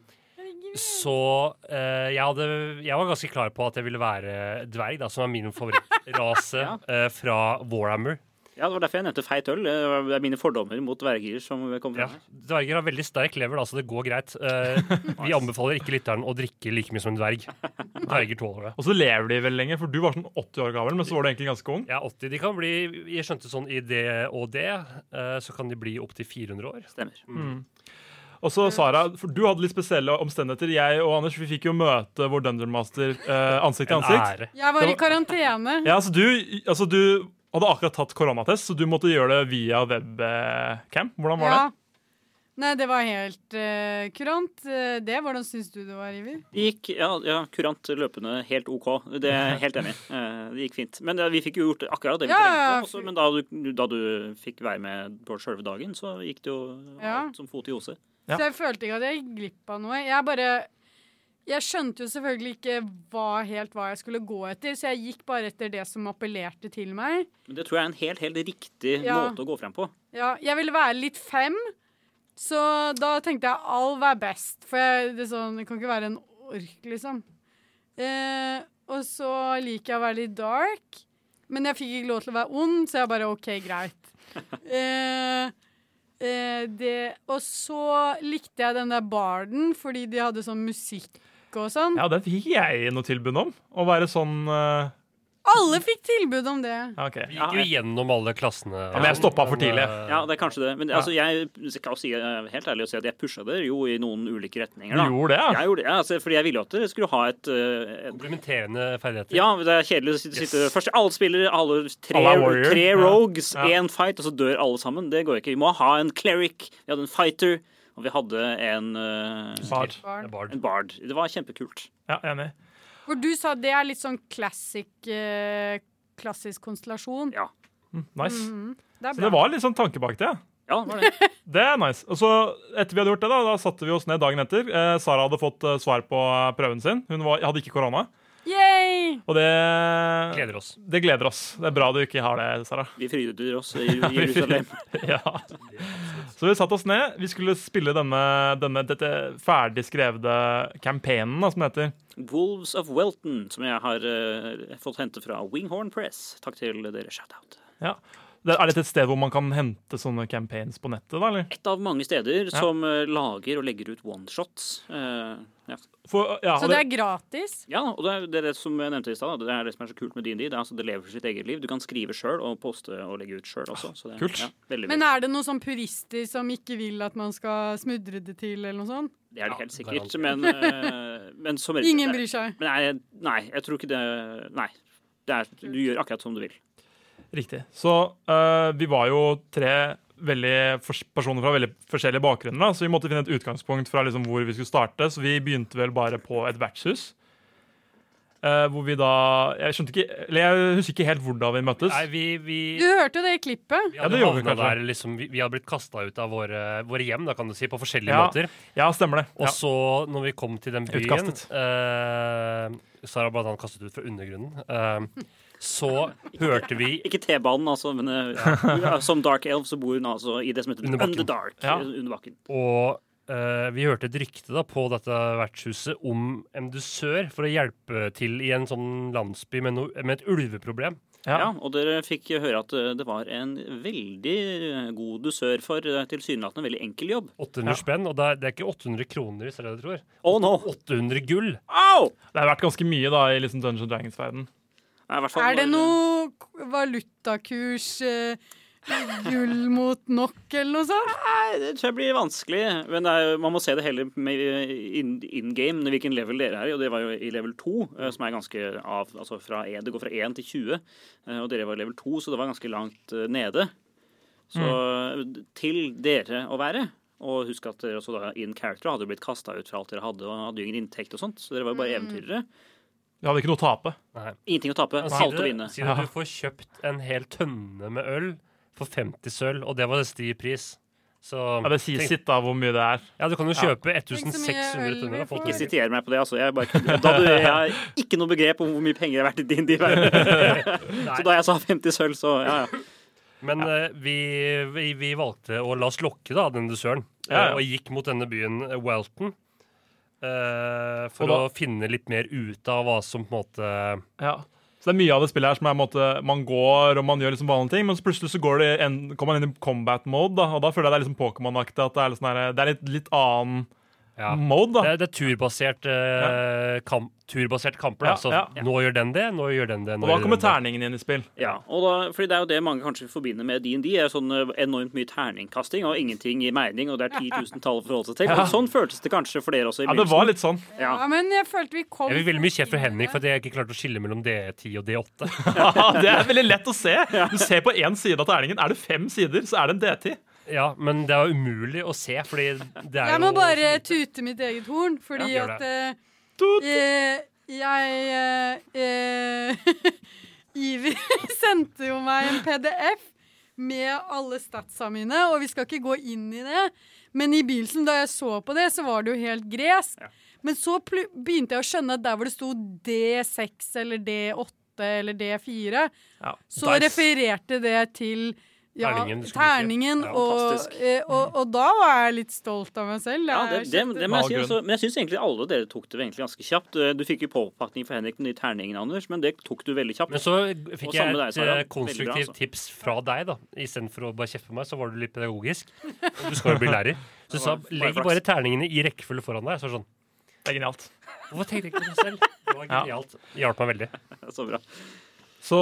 F: så eh, jeg, hadde, jeg var ganske klar på at jeg ville være dverg, da, som er min favorittrase eh, fra Warhammer.
I: Ja, Det var derfor jeg nevnte feit øl. Det er mine fordommer mot dverger som kom
F: Ja,
I: fram. her.
F: dverger har veldig sterk lever, da, så det går greit. Eh, vi anbefaler ikke lytteren å drikke like mye som en dverg. Dverger tåler det.
H: Og så lever de vel lenger, for du var sånn 80 år gammel, men så var du egentlig ganske ung.
F: Jeg er 80. De kan bli, jeg skjønte sånn i det og det, eh, så kan de bli opptil 400 år.
I: Stemmer.
H: Mm. Og så Sara, for du hadde litt spesielle omstendigheter. Jeg og Anders vi fikk jo møte vår Dundermaster eh, ansikt
F: En
H: til ansikt.
F: ære.
E: Jeg var i
H: Det var-
E: karantene.
H: Ja, altså du, altså du hadde akkurat tatt koronatest, så du måtte gjøre det via webcam. Hvordan var
E: Ja. Nei, det var helt eh, kurant. Eh, Det, hvordan syns du det var, Iver?
I: Det gikk ja, ja, kurant løpende helt OK. Det er jeg helt enig i. Eh, Det gikk fint. Men eh, vi fikk jo gjort akkurat det vi
E: Ja, ja,
I: trengte. Også, men da du, da du fikk være med på selve dagen, så gikk det jo
E: Ja.
I: alt som fot i hose.
E: Så jeg følte ikke at jeg gikk glipp av noe. Jeg bare Jeg skjønte jo selvfølgelig ikke hva, helt hva jeg skulle gå etter, så jeg gikk bare etter det som appellerte til meg.
I: Men det tror jeg er en helt, helt riktig
E: Ja.
I: måte å gå frem på.
E: Ja, jeg ville være litt fem, så da tenkte jeg alv er best. For jeg, det, er sånn, det kan ikke være en ork, liksom. Eh, og så liker jeg å være litt dark, men jeg fikk ikke lov til å være ond, så jeg bare OK, greit. Eh, eh, det, og så likte jeg den der barden, fordi de hadde sånn musikk og sånn.
H: det? Ja, den fikk jeg noe tilbud om. Å være sånn eh,
E: Alle fikk tilbud om det.
H: ja, OK.
F: Vi gikk jo gjennom alle klassene.
H: Ja, men jeg stoppa for tidlig.
I: Ja, det er kanskje det. Men altså, jeg skal jo si, eh, helt ærlig å si at jeg pusha dere jo i noen ulike retninger. Da.
F: Du gjorde det, ja?
I: Jeg gjorde det, ja, altså, fordi jeg ville jo at dere skulle ha et, eh, et
F: Komplementerende ferdigheter.
I: ja, men det er kjedelig å sitte
F: Yes.
I: først. Alle spiller, alle tre,
F: Alle er warrior.
I: tre
F: Ja.
I: rogues,
F: Ja.
I: én fight, og så dør alle sammen. Det går ikke. Vi må ha en cleric, vi hadde en fighter, og vi hadde en eh,
H: Bard.
F: Bard.
I: En bard. Det var kjempekult.
H: Ja, enig.
E: For du sa det er litt sånn classic, eh, klassisk konstellasjon.
I: Ja.
H: Mm, nice.
E: Mhm. Det er
H: Så det
E: bra.
H: var litt sånn tanke bak det.
I: Ja, det var det.
H: Det er nice. Og så etter vi hadde gjort det, da, da satte vi oss ned dagen etter. Eh, Sara hadde fått eh, svar på eh, prøven sin. Hun var, hadde ikke korona.
E: Yay!
H: Og det
F: Gleder oss.
H: Det gleder oss. Det er bra du ikke har det, Sara.
I: Vi fryder oss i
H: Ja, vi
I: Jerusalem.
H: ja. Så vi satte oss ned. Vi skulle spille denne, denne dette ferdig skrevne campaignen, da, som det heter.
I: Wolves of Welton, som jeg har eh, fått hente fra Winghorn Press. Takk til dere. Shout-out.
H: Ja. Det- Er dette et sted hvor man kan hente sånne campaigns på nettet, da, eller?
I: Et av mange steder
H: Ja.
I: som eh, lager og legger ut oneshots. Uh, ja.
H: For, ja,
E: Så
H: og
E: det
H: det-
E: er gratis?
I: Ja, og det er det, er det som jeg nevnte i stad. da. Det er det som er så kult med D&D. Det er altså det lever sitt eget liv. Du kan skrive sjøl og poste og legge ut sjøl også. Så det,
H: Kult.
I: Ja, veldig,
E: Men
I: veldig.
E: er det noen sånn purister som ikke vil at man skal smudre det til, eller noe sånt?
I: Det er det helt
E: garantert.
I: sikkert. Men, eh, men som regel
E: Ingen bryr seg.
I: Men nei, nei, jeg tror ikke det Nei. Det er, du gjør akkurat som du vil.
H: Riktig. Så eh, vi var jo tre veldig fors- personer fra veldig forskjellige bakgrunner, da, så vi måtte finne et utgangspunkt fra liksom hvor vi skulle starte. Så vi begynte vel bare på et vertshus. eh, hvor vi da Jeg skjønte ikke Eller jeg husker ikke helt hvordan vi møttes.
F: Nei, vi, vi
E: Du hørte jo det i klippet.
F: Ja,
H: det
F: du
H: gjorde vi
F: havna
H: kanskje.
F: Der, liksom, vi, vi har blitt kasta ut av våre, våre hjem, da, kan du si, på forskjellige
H: Ja.
F: måter.
H: Ja, stemmer det.
F: Og
H: Ja.
F: så, når vi kom til den byen
H: Utkastet.
F: eh, Sara blant annet kastet ut fra undergrunnen. eh, så hørte vi
I: Ikke T-banen, altså, men eh, som Dark Elf så bor hun altså i det som heter
F: Under bakken.
I: Underdark. eh,
F: Ja.
I: Under bakken.
F: Og eh, vi hørte et rykte da på dette vertshuset om en dusør for å hjelpe til i en sånn landsby med, no, med et ulveproblem.
I: Ja. og dere fikk høre at eh, det var en veldig god dusør for eh, tilsynelatende veldig enkel jobb.
F: 800 spenn, og det er, det er ikke 800 kroner, hvis det er det du tror.
I: Oh, no.
F: 800 gull.
H: Det har vært ganske mye da i liksom Dungeons Dragons-verden.
E: Er det noe k- valutakurs eh, Gull mot nok, eller noe sånt?
I: Nei, det tror jeg blir vanskelig. Men det er, jo- man må se det heller med eh, in, in game, hvilken level dere er i. Og det var jo i level 2, eh, som er ganske av Altså fra 1, det går fra 1 til 20. eh, Og dere var i level 2, så det var ganske langt eh, nede. Så eh, til dere å være. Og husk at dere også da in character hadde blitt kasta ut fra alt dere hadde, og hadde jo ingen inntekt og sånt, så dere var jo
E: Mm.
I: bare eventyrere.
H: Vi hadde ikke noe å tape.
I: Ingenting å tape,
F: Men
I: alt å
F: sier du-
I: vinne.
F: Sier du at du får kjøpt en hel tønne med øl for 50 sølv, og det var en stiv pris. Så,
H: Ja, det sier sitt da hvor mye det er.
F: Ja, du kan jo
H: Ja.
F: kjøpe 1600 tønner. av folk.
I: Ikke siter meg på det, altså. Jeg, bare, kødder. da hadde, jeg har ikke noe begrep om hvor mye penger det er verdt i din de Så da jeg sa 50 sølv, så ja, ja.
F: Men eh, vi, vi, vi valgte å la oss lokke da, den dusøren,
H: Ja, ja.
F: og gikk mot denne byen eh, Welton. eh, for
H: Og da-
F: å finne litt mer ut av hva som på en måte
H: Ja. Så det er mye av det spillet her som er en måte, man går og man gjør liksom vanlige ting, men så plutselig så går det en, kommer man inn i combat mode, da, og da føler jeg det er liksom Pokémon-aktig, at det er, litt sånn her, det er litt, litt annen mode, da.
F: Det, er- det er turbasert, eh, kamp, turbasert kamper.
H: Ja,
F: da. Så
H: ja.
F: nå gjør den det, nå gjør den det. nå
H: Og da
F: gjør den
H: kommer
F: det.
H: terningen inn i spill.
I: ja. Og da, fordi det er jo det mange kanskje forbinder med D&D, er jo sånn eh, enormt mye terningkasting og ingenting i mening, og det er 10 000 tall å forholde seg til.
F: Ja.
I: Og sånn føltes det kanskje for dere også i
F: Ja, det var litt
H: sånn.
I: Ja.
E: Ja, men jeg følte vi kom
F: Jeg fikk veldig mye kjeft fra Henrik for at jeg ikke klarte å skille mellom D10 og D8.
H: det er veldig lett å se. Du ser på én side av terningen. Er det fem sider, så er det en DT.
F: Ja, men det er umulig å se, fordi det er
E: Jeg må
F: jo
E: bare tute mitt eget horn, fordi
F: Ja, gjør
E: at eh, eh, jeg eh, eh, Iver sendte jo meg en PDF med alle statsa mine, og vi skal ikke gå inn i det, men i begynnelsen, da jeg så på det, så var det jo helt gresk. Men så plu- begynte jeg å skjønne at der hvor det sto D6 eller D8 eller D4, så refererte det til ja,
I: Terningen du skulle
E: terningen,
I: bruke. Ja,
E: og,
I: fantastisk.
E: eh, og, og da var jeg litt stolt av meg selv.
I: Ja, det,
E: Jeg
I: det,
E: skjønte-
I: det må jeg si også. Men jeg syns egentlig alle dere tok det egentlig ganske kjapt. Eh, Du fikk jo påpakning for Henrik med de terningene, Anders, men det tok du veldig kjapt.
F: Men så
I: Og
F: fikk
I: samme
F: jeg
I: med deg,
F: et
I: Sara.
F: eh,
I: Veldig bra,
F: konstruktivt
I: altså.
F: tips fra deg, da. Istedenfor å bare kjefte på meg, så var du litt pedagogisk. Du skal jo bli lærer. Så du
H: Det
F: sa
H: var bare
F: legg
H: flaks.
F: bare terningene i rekkefølge foran deg. Så var det sånn.
H: Det er genialt.
F: Hvorfor tenkte jeg ikke på det selv? Det var
H: Ja.
F: genialt. Hjalp meg veldig.
I: Så bra.
H: Så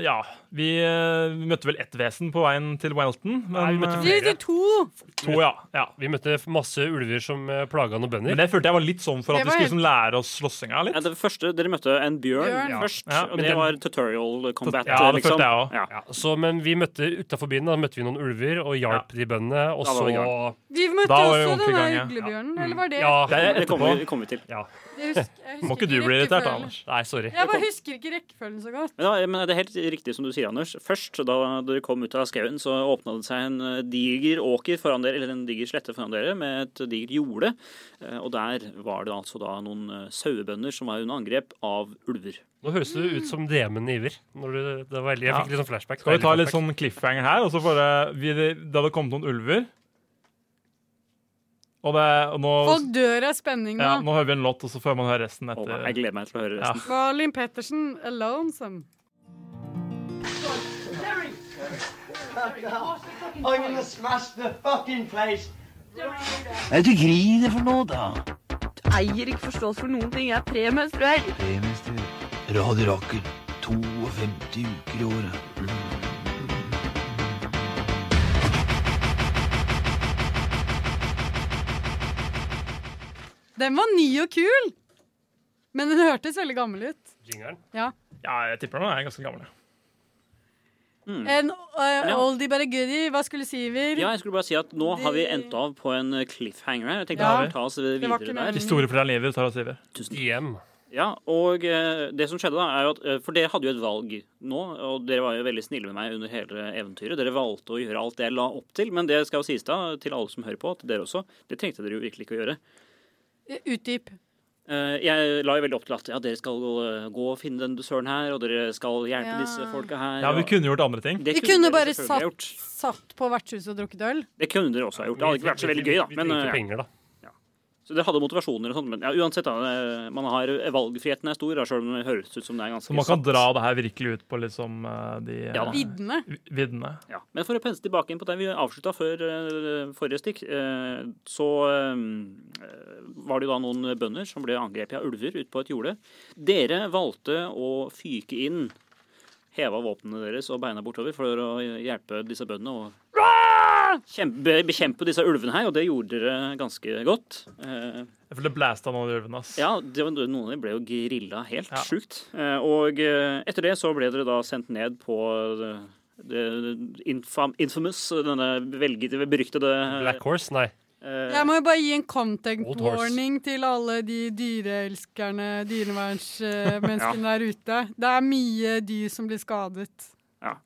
H: ja Vi, eh, vi møtte vel ett vesen på veien til Wellton. Men,
F: Nei, vi møtte
H: eh,
F: flere. Vi møtte
H: To, ja.
F: Vi møtte masse ulver som eh, plaga noen bønder.
H: Men det følte jeg var litt sånn for at vi skulle liksom lære oss slåssinga litt.
I: Ja, det første, Dere møtte en bjørn,
H: Bjørn. Ja.
I: først,
H: Ja,
I: og
H: men
I: det
H: den-
I: var tutorial combat.
F: Ja, det følte
I: liksom.
F: jeg
I: Ja.
F: Ja, så, men vi møtte utafor byen da møtte vi noen ulver og hjalp de bøndene. Og
I: Da var
F: så
I: vi i gang.
E: Vi møtte
F: Da var vi
E: også
F: ordentlig
E: den
F: i gang,
E: der
F: ja.
E: uglebjørnen, eller var det?
F: Ja,
I: Det er- det kommer vi- det kommer vi til.
F: Ja.
E: Jeg husker, jeg husker
I: Må ikke du bli irritert, da,
E: rekkefølgen.
I: Anders?
F: Nei, sorry.
E: Jeg bare husker ikke rekkefølgen så godt.
I: Men, da, men det er helt riktig som du sier, Anders. Først da dere kom ut av skauen, så åpna det seg en eh, diger åker foran dere, eller en diger slette foran dere, med et digert jorde. Eh, Og der var det altså da noen eh, sauebønder som var under angrep av ulver.
F: Nå høres du ut som DM-en Iver. Når du, det var veldig, jeg fikk
H: Ja.
F: litt sånn flashback.
H: Skal vi ta
F: Veldig
H: litt sånn cliffhanger her? Og så bare, vi, det hadde kommet noen ulver. Og, det, og nå,
E: Folk dør av spenning nå.
H: ja, nå hører vi en låt, og så får man høre resten etter.
I: jeg gleder meg til å høre
H: resten.
E: Malin Pettersen, 'Lonesome'.
M: I'm gonna smash the fucking place.
N: Hva er det du griner for noe, da?
O: Eier ikke forståelse for noen ting. Jeg er premenstruell.
N: Premiester. Radio Rakel. 52 uker i året.
E: Den var ny og kul, men den hørtes veldig gammel ut.
F: Jingeren?
E: Ja.
H: Ja, jeg tipper den er ganske gammel. ja.
E: En eh,
I: Mm. Ja.
E: oldie bare goodie. Hva skulle Siver?
I: Ja, jeg skulle bare si at nå har vi endt av på en cliffhanger her. Jeg tenkte
E: Ja.
I: vi skulle ta oss
E: Det var ikke
I: videre der.
E: meningen.
H: Historie fra livet, tar oss i det.
F: Hjem.
I: Ja, og eh, det som skjedde da, er jo at eh, For dere hadde jo et valg nå, og dere var jo veldig snille med meg under hele eventyret. Dere valgte å gjøre alt det jeg la opp til, men det skal jo sies da, til alle som hører på, til dere også, det trengte dere jo virkelig ikke å gjøre.
E: Utdyp.
I: Eh, Jeg la jo veldig opp til at ja, dere skal gå, gå og finne den dusøren her, og dere skal hjelpe
E: Ja.
I: disse folka her.
H: Ja, vi
I: og-
H: kunne gjort andre ting.
I: Det
E: Vi kunne
I: dere
E: bare
I: selvfølgelig ha
E: satt,
I: gjort.
E: satt på vertshuset og drukket øl.
I: Det kunne dere også ha gjort. Det hadde ikke vært så veldig gøy, da. Men, eh, ja.
F: penger, da.
I: Så dere hadde motivasjoner og sånt, men ja, uansett, da, eh, man har, valgfriheten er stor, da, selv om det høres ut som det er ganske
H: Så man kan
I: satt.
H: dra det her virkelig ut på liksom eh, de eh,
I: Ja da.
E: Viddene.
H: vi- viddene.
I: Men for å pense tilbake inn på det vi avslutta før eh, forrige stikk, eh, så eh, var det jo da noen bønder som ble angrepet av ulver ute på et jorde. Dere valgte å fyke inn, heva våpnene deres og beina bortover for å hjelpe disse bøndene og kjempe, bekjempe disse ulvene her, og det gjorde dere ganske godt. Eh,
H: For det blæsta noen av de ulvene, ass.
I: ja, det var, noen av dem ble jo grilla helt
H: Ja.
I: sjukt. Eh, Og eh, etter det så ble dere da sendt ned på det, det infam, infamous, denne velgete, beryktede eh,
F: Black Horse, nei.
E: Jeg må jo bare gi en content
F: Old horse.
E: warning til alle de dyreelskerne, dyrevernsmenneskene der ute. Det er mye dyr som blir skadet.
I: Ja.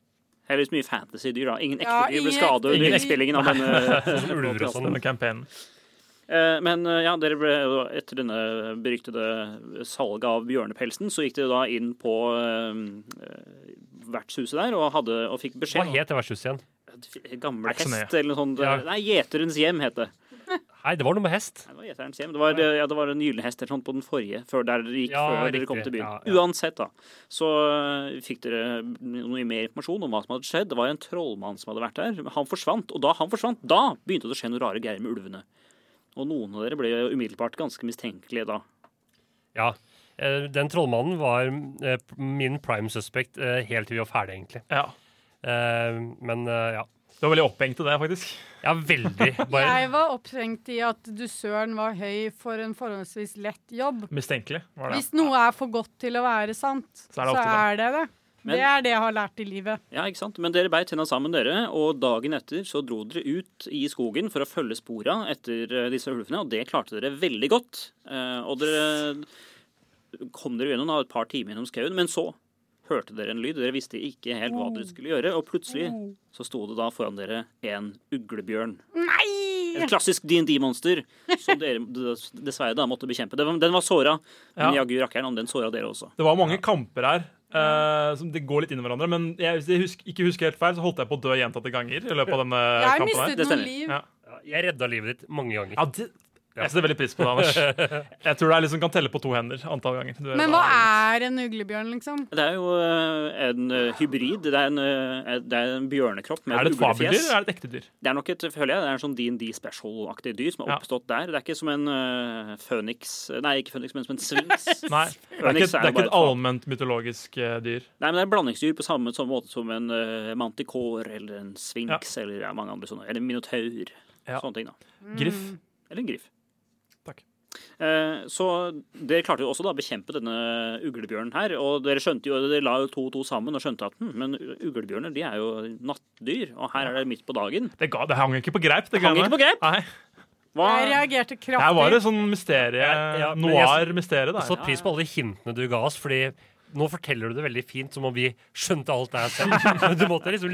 I: Heldigvis mye fantasydyr, da. Ingen ekte
E: Ja,
I: dyr ble
E: ingen
I: skadet
E: ekte
I: under
E: dyr.
I: innspillingen av eh, denne
H: Sånn som ulver og sånn, denne campaignen.
I: Eh, Men eh, ja, dere ble jo etter denne beryktede salget av bjørnepelsen, så gikk dere da inn på eh, eh, vertshuset der og, hadde, og fikk beskjed
F: Hva het det vertshuset igjen?
I: Gammel
F: Er ikke så nøye.
I: hest eller noe sånt.
F: Ja.
I: Nei, Gjeterens hjem het det.
F: Nei, det var noe med hest.
I: Nei, det var Gjeterens hjem. Det var, ja. det var en gyllen hest eller sånt på den forrige, før der dere gikk
F: Ja,
I: før
F: riktig.
I: dere kom til byen.
F: Ja,
I: Uansett, da, så øh, fikk dere noe mer informasjon om hva som hadde skjedd. Det var en trollmann som hadde vært der. Han forsvant, og da han forsvant, da begynte det å skje noe rare greier med ulvene. Og noen av dere ble jo umiddelbart ganske mistenkelige da.
F: Ja. eh, Den trollmannen var eh, min prime suspect eh, helt til vi var ferdig, egentlig. Eh, Men eh, ja.
H: Du var veldig opphengt i det, faktisk.
F: Ja, veldig.
E: Jeg var opphengt i at dusøren var høy for en forholdsvis lett jobb.
H: Mistenkelig, var det.
E: Hvis noe er for godt til å være sant,
I: Så
E: så
I: er det
E: er
I: ofte
E: det det.
I: Men-
E: Det er det jeg har lært i livet.
I: Ja, ikke sant? Men dere beit tenna sammen, dere, og dagen etter så dro dere ut i skogen for å følge spora etter eh, disse ulvene, og det klarte dere veldig godt. Eh, Og dere kom dere gjennom da, et par timer gjennom skauen, men så hørte dere en lyd. Dere visste ikke helt hva dere skulle gjøre, og plutselig så sto det da foran dere en uglebjørn.
E: Nei!
I: Et klassisk DND-monster som dere dessverre da måtte bekjempe. Den var- Den var såra, men
H: Ja.
I: jaggu rakkeren om den såra dere også.
H: Det var mange kamper her. eh, som de går litt inn i hverandre, men jeg, hvis jeg husker, ikke husker helt feil, så holdt jeg på å dø gjentatte ganger. i løpet av denne
F: Jeg
H: kampen
F: mistet
H: her.
F: Det noen stemmer. liv.
H: Ja.
F: Jeg redda livet ditt mange ganger.
H: Ja, det, jeg setter veldig pris på det, Anders. Jeg tror det er liksom kan telle på to hender antall ganger. Du er
E: Men
H: da-
E: hva er en uglebjørn, liksom?
I: Det er jo eh, en eh, hybrid. Det er en, eh, det er en bjørnekropp med
H: Er det et
I: uglefjes.
H: fabeldyr, eller er det et ekte dyr?
I: Det er nok et, føler jeg, det er en sånn D&D special-aktig dyr som har
H: Ja.
I: oppstått der. Det er ikke som en uh, føniks Nei, ikke føniks, men som en svings.
H: Nei, det er ikke,
I: Føniks
H: det er
I: jo bare
H: ikke et allment mytologisk eh, dyr.
I: Nei, men det er blandingsdyr på samme, samme måte som en uh, mantikår eller en sfinks eller ja, mange andre sånne. Eller en minotaur. Sånne ting, da.
H: Griff.
I: Eller en griff. Eh, Så dere klarte jo også da å bekjempe denne uglebjørnen her. Og dere skjønte jo, dere la jo to og to sammen og skjønte at hm, men uglebjørner de er jo nattdyr, og her er det midt på dagen.
H: Det, ga, det hang ikke på greip. Det
I: Hang
H: greiene
I: ikke på greip?
H: Nei.
E: Jeg reagerte kraftig.
H: Her var det sånn mysterie,
F: men jeg-
H: noir-mysterie.
F: Jeg satte pris på alle de hintene du ga oss, fordi nå forteller du det veldig fint, som om vi skjønte alt det her selv. Men du måtte liksom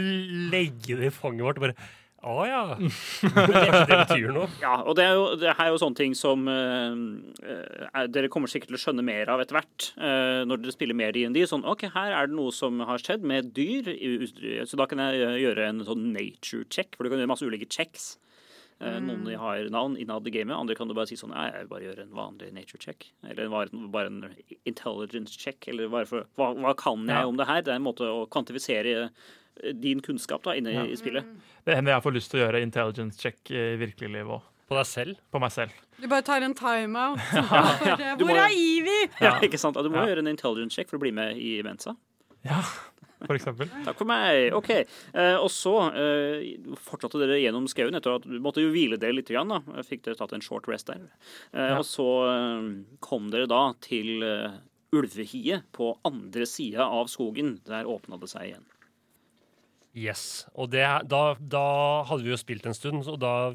F: legge det i fanget vårt og bare Å ja. Det, det betyr noe.
I: Ja, og det er jo, det her er jo sånne ting som eh, eh, er, dere kommer sikkert til å skjønne mer av etter hvert eh, når dere spiller mer D&D. Sånn, ok, her er det noe som har skjedd med dyr, i- ut- så da kan jeg eh, gjøre en sånn nature check, for du kan gjøre masse ulike checks. Eh,
H: Mm.
I: Noen de har navn innad i gamet, andre kan du bare si sånn, nei, jeg vil bare gjøre en vanlig nature check, eller bare, bare en intelligence check, eller bare for, hva, hva kan jeg
H: Ja.
I: om det her? Det er en måte å kvantifisere eh, din kunnskap da, inne i- i spillet.
H: Det hender jeg får lyst til å gjøre intelligence check i virkelig liv òg.
F: På deg selv?
H: På meg selv.
E: Du bare tar en timeout.
I: Ja, ja.
E: For, eh,
I: Du må
E: Hvor
I: jo-
E: er Ivi?
I: Ja, ikke sant? Og Du må
H: Ja.
I: gjøre en intelligence check for å bli med i Mensa.
H: For eksempel.
I: Takk for meg. OK. Eh, og så eh, fortsatte dere gjennom skauen etter at du måtte jo hvile dere litt. Grann, da. Fikk dere tatt en short rest der. Eh,
H: Ja.
I: Og så eh, kom dere da til eh, ulvehiet på andre sida av skogen. Der åpna det seg igjen.
F: Yes. Og det, da, da hadde vi jo spilt en stund, og da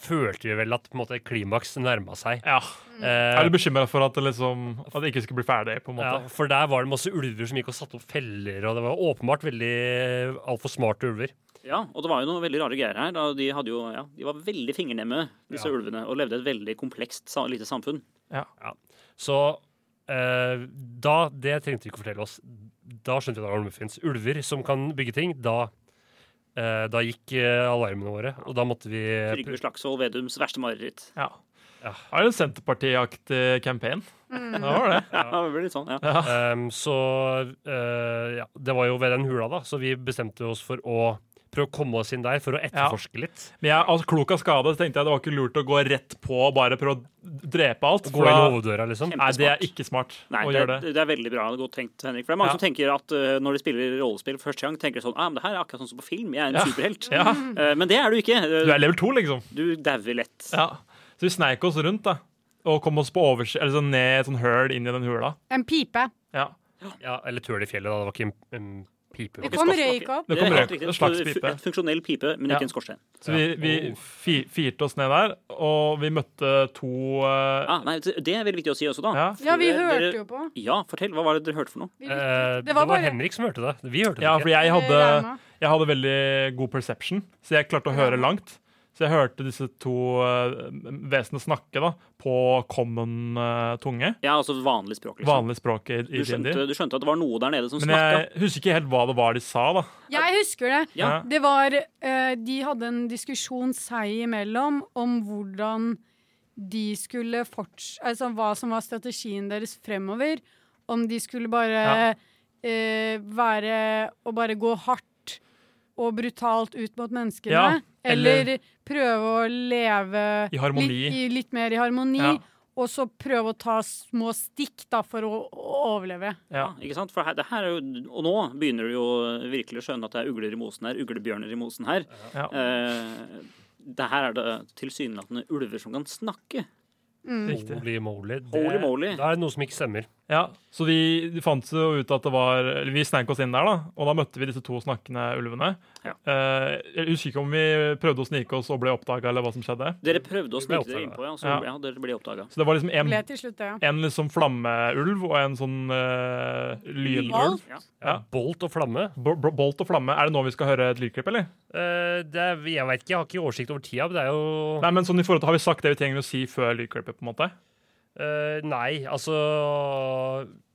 F: følte vi vel at på en måte, klimaks nærma seg.
H: Ja.
F: Eh,
H: Jeg er litt bekymra for at det, liksom, at det ikke skulle bli ferdig. på en måte.
F: Ja, for der var det masse ulver som gikk og satte opp feller, og det var åpenbart veldig altfor smarte ulver.
I: Ja, og det var jo noen veldig rare greier her. Da de, hadde jo, ja, de var veldig fingernemme, disse ulvene, og levde et veldig komplekst sa- lite samfunn.
F: Ja. Så eh, da Det trengte de ikke å fortelle oss. Da skjønte vi at det fins ulver som kan bygge ting. Da, eh, da gikk eh, alarmene våre, og da måtte vi
I: Trygve Slagsvold Vedums verste mareritt.
H: Ja. Ja. Det er jo en Senterparti-aktig campaign.
F: Mm.
H: Det var det.
I: Ja, det blir litt sånn, ja.
F: Ehm, så eh, ja, det var jo ved den hula, da, så vi bestemte oss for å prøve å komme oss inn der for å etterforske litt.
H: Men jeg, altså, klok av skade så tenkte jeg det var ikke lurt å gå rett på og bare prøve å drepe alt.
F: Gå
H: for da-
F: inn hoveddøra, liksom.
H: Nei, det er ikke smart
I: Nei,
H: å
I: det,
H: gjøre det.
I: det er veldig bra godt tenkt, Henrik. For det er mange
H: Ja.
I: som tenker at eh, når de spiller rollespill for første gang, tenker de sånn ah, men det her er akkurat sånn som på film, jeg er en
H: Ja.
I: superhelt.
H: Ja.
I: Eh, men det er du ikke.
H: Du er level 2, liksom.
I: Du dauer lett.
H: Ja. Så vi sneik oss rundt da, og kom oss på overs eller sånn ned i et sånn høl inn i den hula.
E: En pipe.
H: Ja.
F: eller tøl i fjellet, da. Det var ikke en, en pipe.
E: Det kom røyk opp.
H: Det kom
I: er helt
H: røyk,
I: riktig.
H: en slags pipe.
I: Et funksjonell pipe, men
H: Ja.
I: ikke en skorstein.
H: Så vi, vi fi, firte oss ned der, og vi møtte to eh,
I: Ah, nei, det er veldig viktig å si også, da. Eh,
E: Ja, vi
I: Dere-
E: hørte jo på.
I: Ja, fortell. Hva var det dere hørte for noe?
E: Vi
F: Eh,
E: Det var bare-
F: Henrik som hørte det. Vi hørte det
H: Ja,
F: ikke.
H: for jeg hadde,
E: Eller Rauma.
H: jeg hadde veldig god perception, så jeg klarte å høre langt. Så jeg hørte disse to eh, vesenene snakke da, på common eh, tunge.
I: Ja, altså vanlig språk. Liksom.
H: Vanlig språk i
I: Du,
H: i
I: skjønte,
H: D&D.
I: du skjønte at det var noe der nede som
H: Men
I: snakka?
H: jeg husker ikke helt hva det var de sa, da.
E: Jeg husker det.
H: Ja.
E: Det var eh, De hadde en diskusjon seg imellom om hvordan de skulle forts... Altså hva som var strategien deres fremover. Om de skulle bare eh, være Å bare gå hardt og brutalt ut mot menneskene.
H: Ja,
E: eller,
H: eller-
E: prøve å leve
H: I harmoni.
E: Litt, i, litt mer i harmoni.
H: Ja.
E: Og så prøve å ta små stikk da, for å, å overleve.
I: Ja, ikke sant? For her, det her er jo, og nå begynner du jo virkelig å skjønne at det er ugler i mosen her, uglebjørner i mosen her.
H: Ja.
I: Eh, det her er det tilsynelatende ulver som kan snakke.
E: Mm.
H: Riktig.
F: Holy moly. Det,
I: Holy moly.
F: Da er det noe som ikke stemmer.
H: Ja, så vi vi fant jo ut at det var eller Vi snek oss inn der, da. Og da møtte vi disse to snakkende ulvene. Eh, jeg husker ikke om vi prøvde å snike oss og ble oppdaga, eller hva som skjedde.
I: Dere prøvde å snike dere
H: oppdaget.
I: innpå, ja, så
H: Ja.
I: ja. dere ble oppdaga.
H: Så det var liksom en,
E: Ble til slutt det, ja.
H: en liksom flammeulv og en sånn eh, lynulv.
E: Bolt.
F: Bolt og flamme.
H: bolt og flamme. Er det nå vi skal høre et lydklipp, eller?
F: Eh, det er, jeg vet ikke, jeg har ikke oversikt over tida, men det er jo
H: Nei, men sånn i forhold til Har vi sagt det vi trenger å si før lydklippet, på en måte?
F: Eh, nei, altså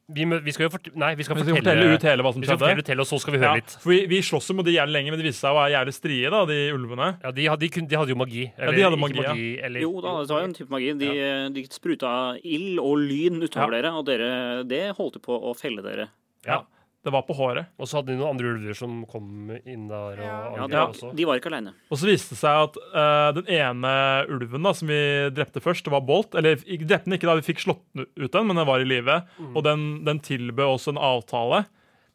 F: vi, mø- vi skal jo fort nei, vi skal
H: Vi
F: fortelle,
H: skal fortelle ut hele hva som
F: vi skal
H: skjedde.
F: fortelle ut hele, og så skal vi høre
H: Ja,
F: litt.
H: For vi, vi slåss jo mot de jævlig lenge, men det viste seg å være jævlig strie, da, de ulvene.
F: Ja, De hadde, de kun- de hadde jo magi.
H: ja, de hadde
F: ikke
H: magi, ja.
F: eller-
I: Jo da, det var jo en type magi. De, de spruta ild og lyn utover dere, og dere, det holdt på å felle dere.
H: Ja. Det var på håret.
F: Og så hadde de noen andre ulver som kom inn der. Og
I: Ja,
F: angrep
I: de,
F: også.
I: var, de var ikke aleine.
H: Og så viste det seg at eh, den ene ulven da, som vi drepte først, det var Bolt. Eller vi drepte den ikke da vi fikk slått den ut den, men den var i live.
F: Mm.
H: Og den, den tilbød oss en avtale.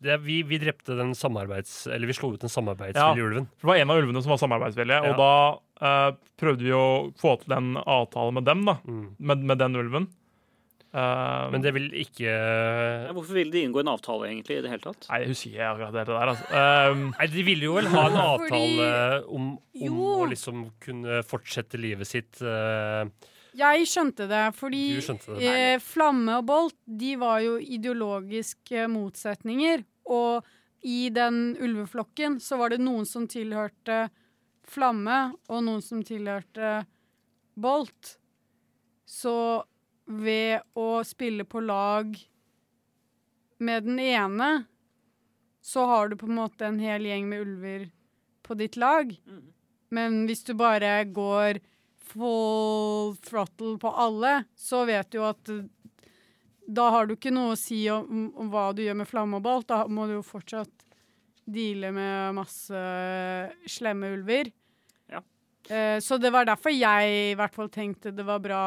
F: Det, vi, vi drepte den samarbeids... Eller vi slo ut den
H: Ja,
F: samarbeidsvillige ulven.
H: for det var en av ulvene som var samarbeidsvillige, og da eh, prøvde vi å få til en avtale med dem, da. Med, med den ulven. Eh,
F: Mm. Men det vil ikke
I: Hvorfor ville de inngå en avtale, egentlig, i det hele tatt?
H: Nei, jeg husker ikke akkurat det der, altså.
F: Nei, De ville jo vel ha en
I: Fordi-
F: avtale om, om
E: Jo.
F: å liksom kunne fortsette livet sitt eh,
E: Jeg skjønte det, fordi
F: Du skjønte det.
E: eh, Flamme og Bolt de var jo ideologiske motsetninger. Og i den ulveflokken så var det noen som tilhørte Flamme, og noen som tilhørte Bolt. Så ved å spille på lag med den ene, så har du på en måte en hel gjeng med ulver på ditt lag. Men hvis du bare går full throttle på alle, så vet du jo at eh, da har du ikke noe å si om, om hva du gjør med flamme og bolt. Da må du jo fortsatt deale med masse slemme ulver. Eh, Så det var derfor jeg i hvert fall tenkte det var bra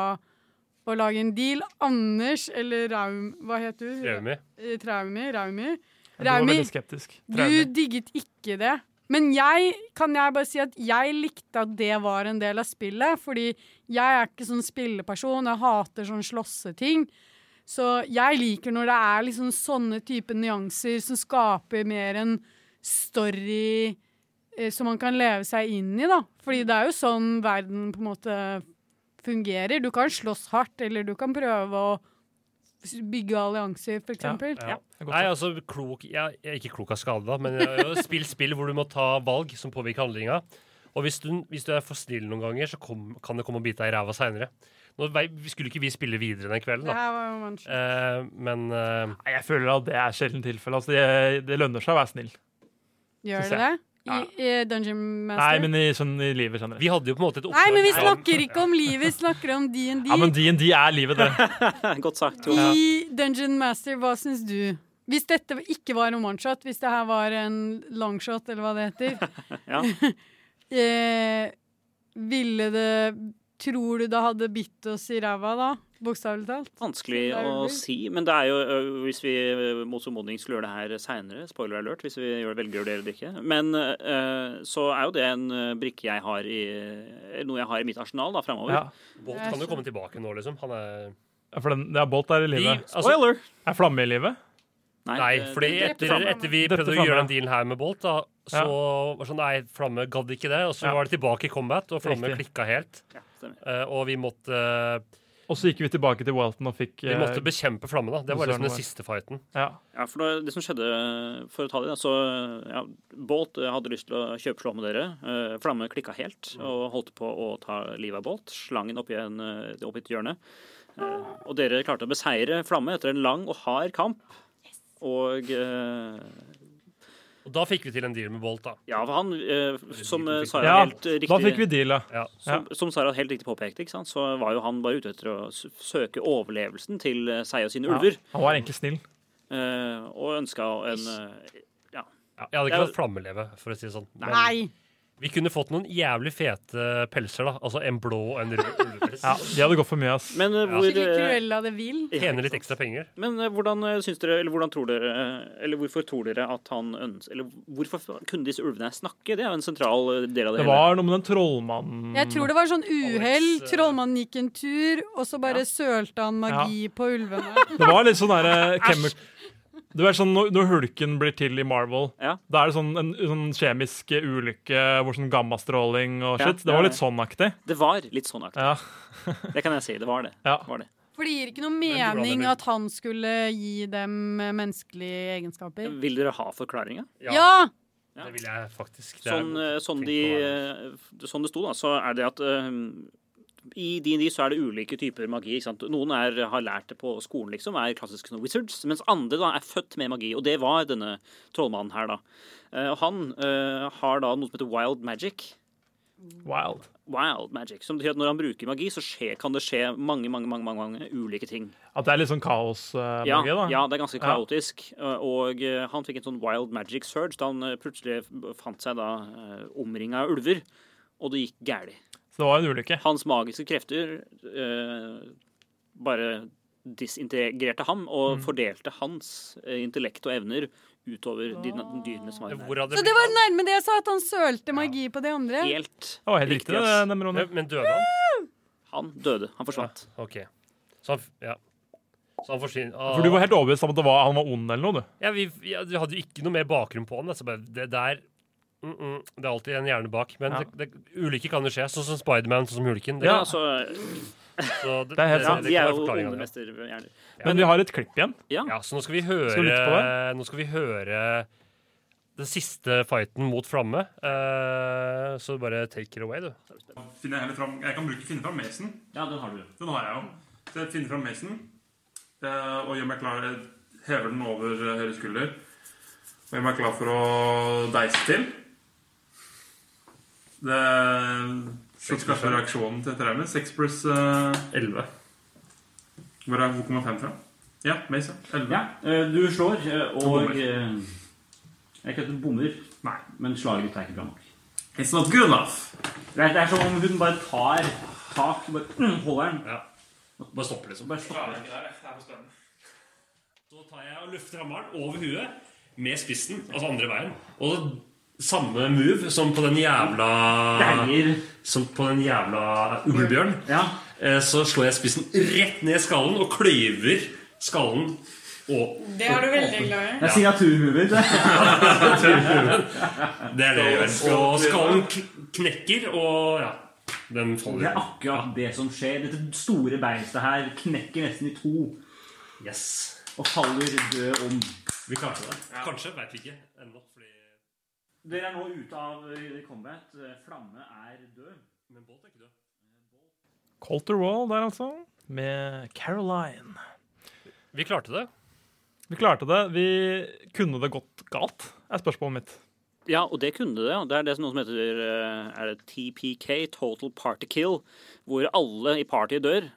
E: å lage en deal. Anders, eller Raum... Hva het du?
F: Raumi.
E: Eh, Traumi. Raumi.
H: Du var veldig skeptisk.
E: Du
H: Traumi.
E: digget ikke det. Men jeg kan jeg bare si at jeg likte at det var en del av spillet, fordi jeg er ikke sånn spilleperson, jeg hater sånn slåsseting. Så jeg liker når det er liksom sånne type nyanser som skaper mer en story eh, som man kan leve seg inn i, da. Fordi det er jo sånn verden på en måte fungerer. Du kan slåss hardt, eller du kan prøve å bygge allianser, for eksempel.
F: Ja. Nei, altså klok ja, Ikke klok av skade, da, men ja, spill spill hvor du må ta valg som påvirker handlinga. Og hvis du, hvis du er for snill noen ganger, så kom, kan det komme og bite deg i ræva seinere. Skulle ikke vi spille videre den kvelden,
E: Det
F: da?
E: her var jo vanskelig.
F: Eh, men eh,
H: Nei, jeg føler at det er sjelden tilfelle. Altså, det, det lønner seg å være snill.
E: Gjør
H: synes
E: det
H: jeg.
E: det? I, i Dungeon
H: Nei,
E: Master?
H: men i, sånn, i livet generelt.
F: Vi hadde jo på en måte et
E: Nei, men vi snakker ikke om livet, vi snakker om DND.
H: Ja, men DND er livet, det.
I: Godt sagt,
E: I Dungeon Master, hva syns du? Hvis dette ikke var en one-shot, hvis det her var en longshot, eller hva det heter
I: Ja.
E: eh, Ville det Tror du det hadde bitt oss i ræva da? Bokstavelig talt?
I: Vanskelig
E: Det er
I: å
E: vel-
I: si, men det er jo ø, Hvis vi ø, mot formodning skulle gjøre det her seinere, spoiler alert, hvis vi gjør, velger å gjøre det eller ikke, men ø, så er jo det en ø, brikke jeg har i eller Noe jeg har i mitt arsenal da framover.
H: Ja.
F: Bolt kan jo komme tilbake nå, liksom. Han er
H: Ja, For den, ja, Bolt er i livet.
F: Vi- altså- Spoiler!
H: Er flamme i livet?
I: Nei,
F: Nei, fordi etter, etter vi prøvde å gjøre den dealen her med Bolt, da, så
H: Ja.
F: var det sånn Nei, Flamme gadd ikke det. Og så
H: Ja.
F: var det tilbake i combat, og Flamme
H: Riktig.
F: klikka helt. Eh, og vi måtte,
H: Og så gikk vi tilbake til Walton og fikk
F: vi
H: eh,
F: måtte bekjempe Flamme, da. Det var liksom den siste fighten.
H: Ja.
I: Ja, for det, det som skjedde, eh, for å ta det, da, så ja, Bolt eh, hadde lyst til å kjøpe slå med dere. Eh, Flamme klikka helt
H: Mm.
I: og holdt på å ta livet av Bolt. Slangen oppi, en, eh, oppi et hjørne. Eh, og dere klarte å beseire Flamme etter en lang og hard kamp. Og eh,
F: Og da fikk vi til en deal med Bolt, da.
I: Ja, for han, eh, som eh, Sara
H: Ja,
I: helt eh, riktig
H: da fikk vi deala.
I: Som, som Sara helt riktig påpekte, ikke sant? så var jo han bare ute etter å s- søke overlevelsen til eh, seg og sine ulver.
H: Han var egentlig snill.
I: Eh, og ønska en eh, Ja.
F: Jeg hadde
I: Det
F: ikke
I: er-
F: latt flammeleve, for å si det sånn. Men
E: Nei.
F: Vi kunne fått noen jævlig fete pelser, da. Altså en blå og en rød ulvepels.
H: Ja, de hadde gått for mye, ass.
I: Men, eh,
F: Ja.
I: hvor,
E: Skikkelig
I: eh,
E: Cruella det vil?
F: Tjene litt ekstra penger.
I: Men eh, hvordan eh, syns dere, eller hvordan tror dere, eh, eller hvorfor tror dere at han ønsker Eller hvorfor f- kunne disse ulvene her snakke? Det er jo en sentral eh, del av det,
H: Det var noe med den trollmannen
E: Jeg tror det var sånn uhell.
H: Mm. eh,
E: Trollmannen gikk en tur, og så bare sølte han magi på ulvene.
H: Det var litt sånn derre chemi- Du vet sånn, når, når hulken blir til i Marvel, da er det sånn en sånn kjemisk ulykke hvor sånn gammastråling og
I: Ja,
H: shit. Det
I: ja,
H: var
I: ja.
H: litt sånn aktig.
I: hele. Det var litt sånn aktig.
H: Ja.
I: det kan jeg si. Det var det.
H: Ja.
I: Var det.
E: For det gir ikke noe
I: er bra,
E: mening
I: Emil.
E: at han skulle gi dem eh, menneskelige egenskaper.
I: Vil dere ha forklaringa?
E: Ja!
F: Det vil jeg faktisk. Det er-
I: Sånn, eh, sånn, de, eh, sånn det sto, da, så er det at eh, i D&D så er det ulike typer magi. ikke sant? Noen er, har lært det på skolen, liksom, er klassiske sånne wizards, mens andre da er født med magi. Og det var denne trollmannen her, da. Eh, og han eh, har da noe som heter wild magic.
H: Wild.
I: Wild magic, Som betyr at når han bruker magi, så skje, kan det skje mange, mange, mange, mange, mange ulike ting.
H: At det er litt sånn kaosmagi,
I: Ja,
H: da.
I: ja, det er ganske
H: Ja.
I: kaotisk. Eh, Og eh, han fikk en sånn wild magic surge da han eh, plutselig f- fant seg da omringa av ulver, og det gikk gæli.
H: Så det var en ulykke.
I: Hans magiske krefter eh, bare disintegrerte ham og fordelte hans eh, intellekt og evner utover de na- dyrene som eh, var der.
E: Så det var nærme det jeg sa, at han sølte magi på de andre.
I: Helt
H: Det var helt riktig, det,
I: ass.
H: Nemrone.
F: Men døde han?
I: Han døde. Han forsvant.
F: OK. Så han, ja. Så han forsvinner ah.
H: For du var helt overbevist om at det var, han var ond eller noe, du.
F: ja, vi, ja, vi hadde jo ikke noe mer bakgrunn på han. da, Så bare, det der mm, mm, Det er alltid en hjerne bak. Men
H: Ja.
F: det, det, ulykker kan jo skje. Sånn som Spiderman, sånn som hulken. Det,
I: Ja,
F: kan-
I: altså
F: Så det-
H: Det er helt
F: det-
H: sant.
F: det
I: De
F: kan
I: er
F: være
I: jo
F: forklaringen,
I: onde
F: ja.
I: mesterhjerner.
H: Men vi har et klipp igjen.
I: Ja.
F: så nå skal vi
H: Skal vi lytte på
F: høre Nå skal vi høre den siste fighten mot Flamme. Eh, så bare take it away, du.
D: Finner jeg, heller fram, jeg kan bruke finne fram Mason.
G: Ja, den har du.
D: Den har jeg jo. Så jeg finner fram Mason eh, og gjør meg klar. Jeg hever den over eh, høyre skulder og gjør meg klar for å deise til. Det så
B: Seks pluss
D: skaffer
B: fem.
D: reaksjonen til etter 6 pluss eh, 11. Hvor er hvor kommer fem fra? Ja, Mason. 11.
G: Ja, eh, du slår, eh, og
D: Bommer.
G: eh, Jeg kan ikke bommer, Nei. men slaget ditt er ikke bra nok.
D: It's not good enough.
G: Det er, det er som om hun bare tar tak, bare mm, holder den.
F: Bare stopper, liksom.
G: Bare stopper.
F: det Så tar jeg og løfter hammeren over huet med spissen, altså andre veien. Og samme move som på den jævla
G: Deiger.
F: Som på den jævla ulvebjørn. Eh, Så slår jeg spissen rett ned i skallen og kløyver skallen. Og,
J: Det er du veldig glad i.
G: Det er signaturmovet.
F: Det er det jeg gjør. Og skallen kn- knekker, og ja, den
G: Det er
F: faller.
G: akkurat det som skjer. Dette store beistet her knekker nesten i to.
F: Yes.
G: Og faller død om.
F: Vi klarte det. Kanskje, veit vi ikke ennå. Fordi
G: Dere er nå ute av eh, combat. Eh, Flamme er død.
F: Men Bolt er ikke død.
H: Colter Wall der, altså. Med Caroline.
F: Vi klarte det.
H: Vi klarte det. Vi kunne det gått galt, er spørsmålet mitt.
I: Ja, og det kunne det. Det er det som noe som heter eh, er det TPK, Total Party Kill, hvor alle i partyet dør.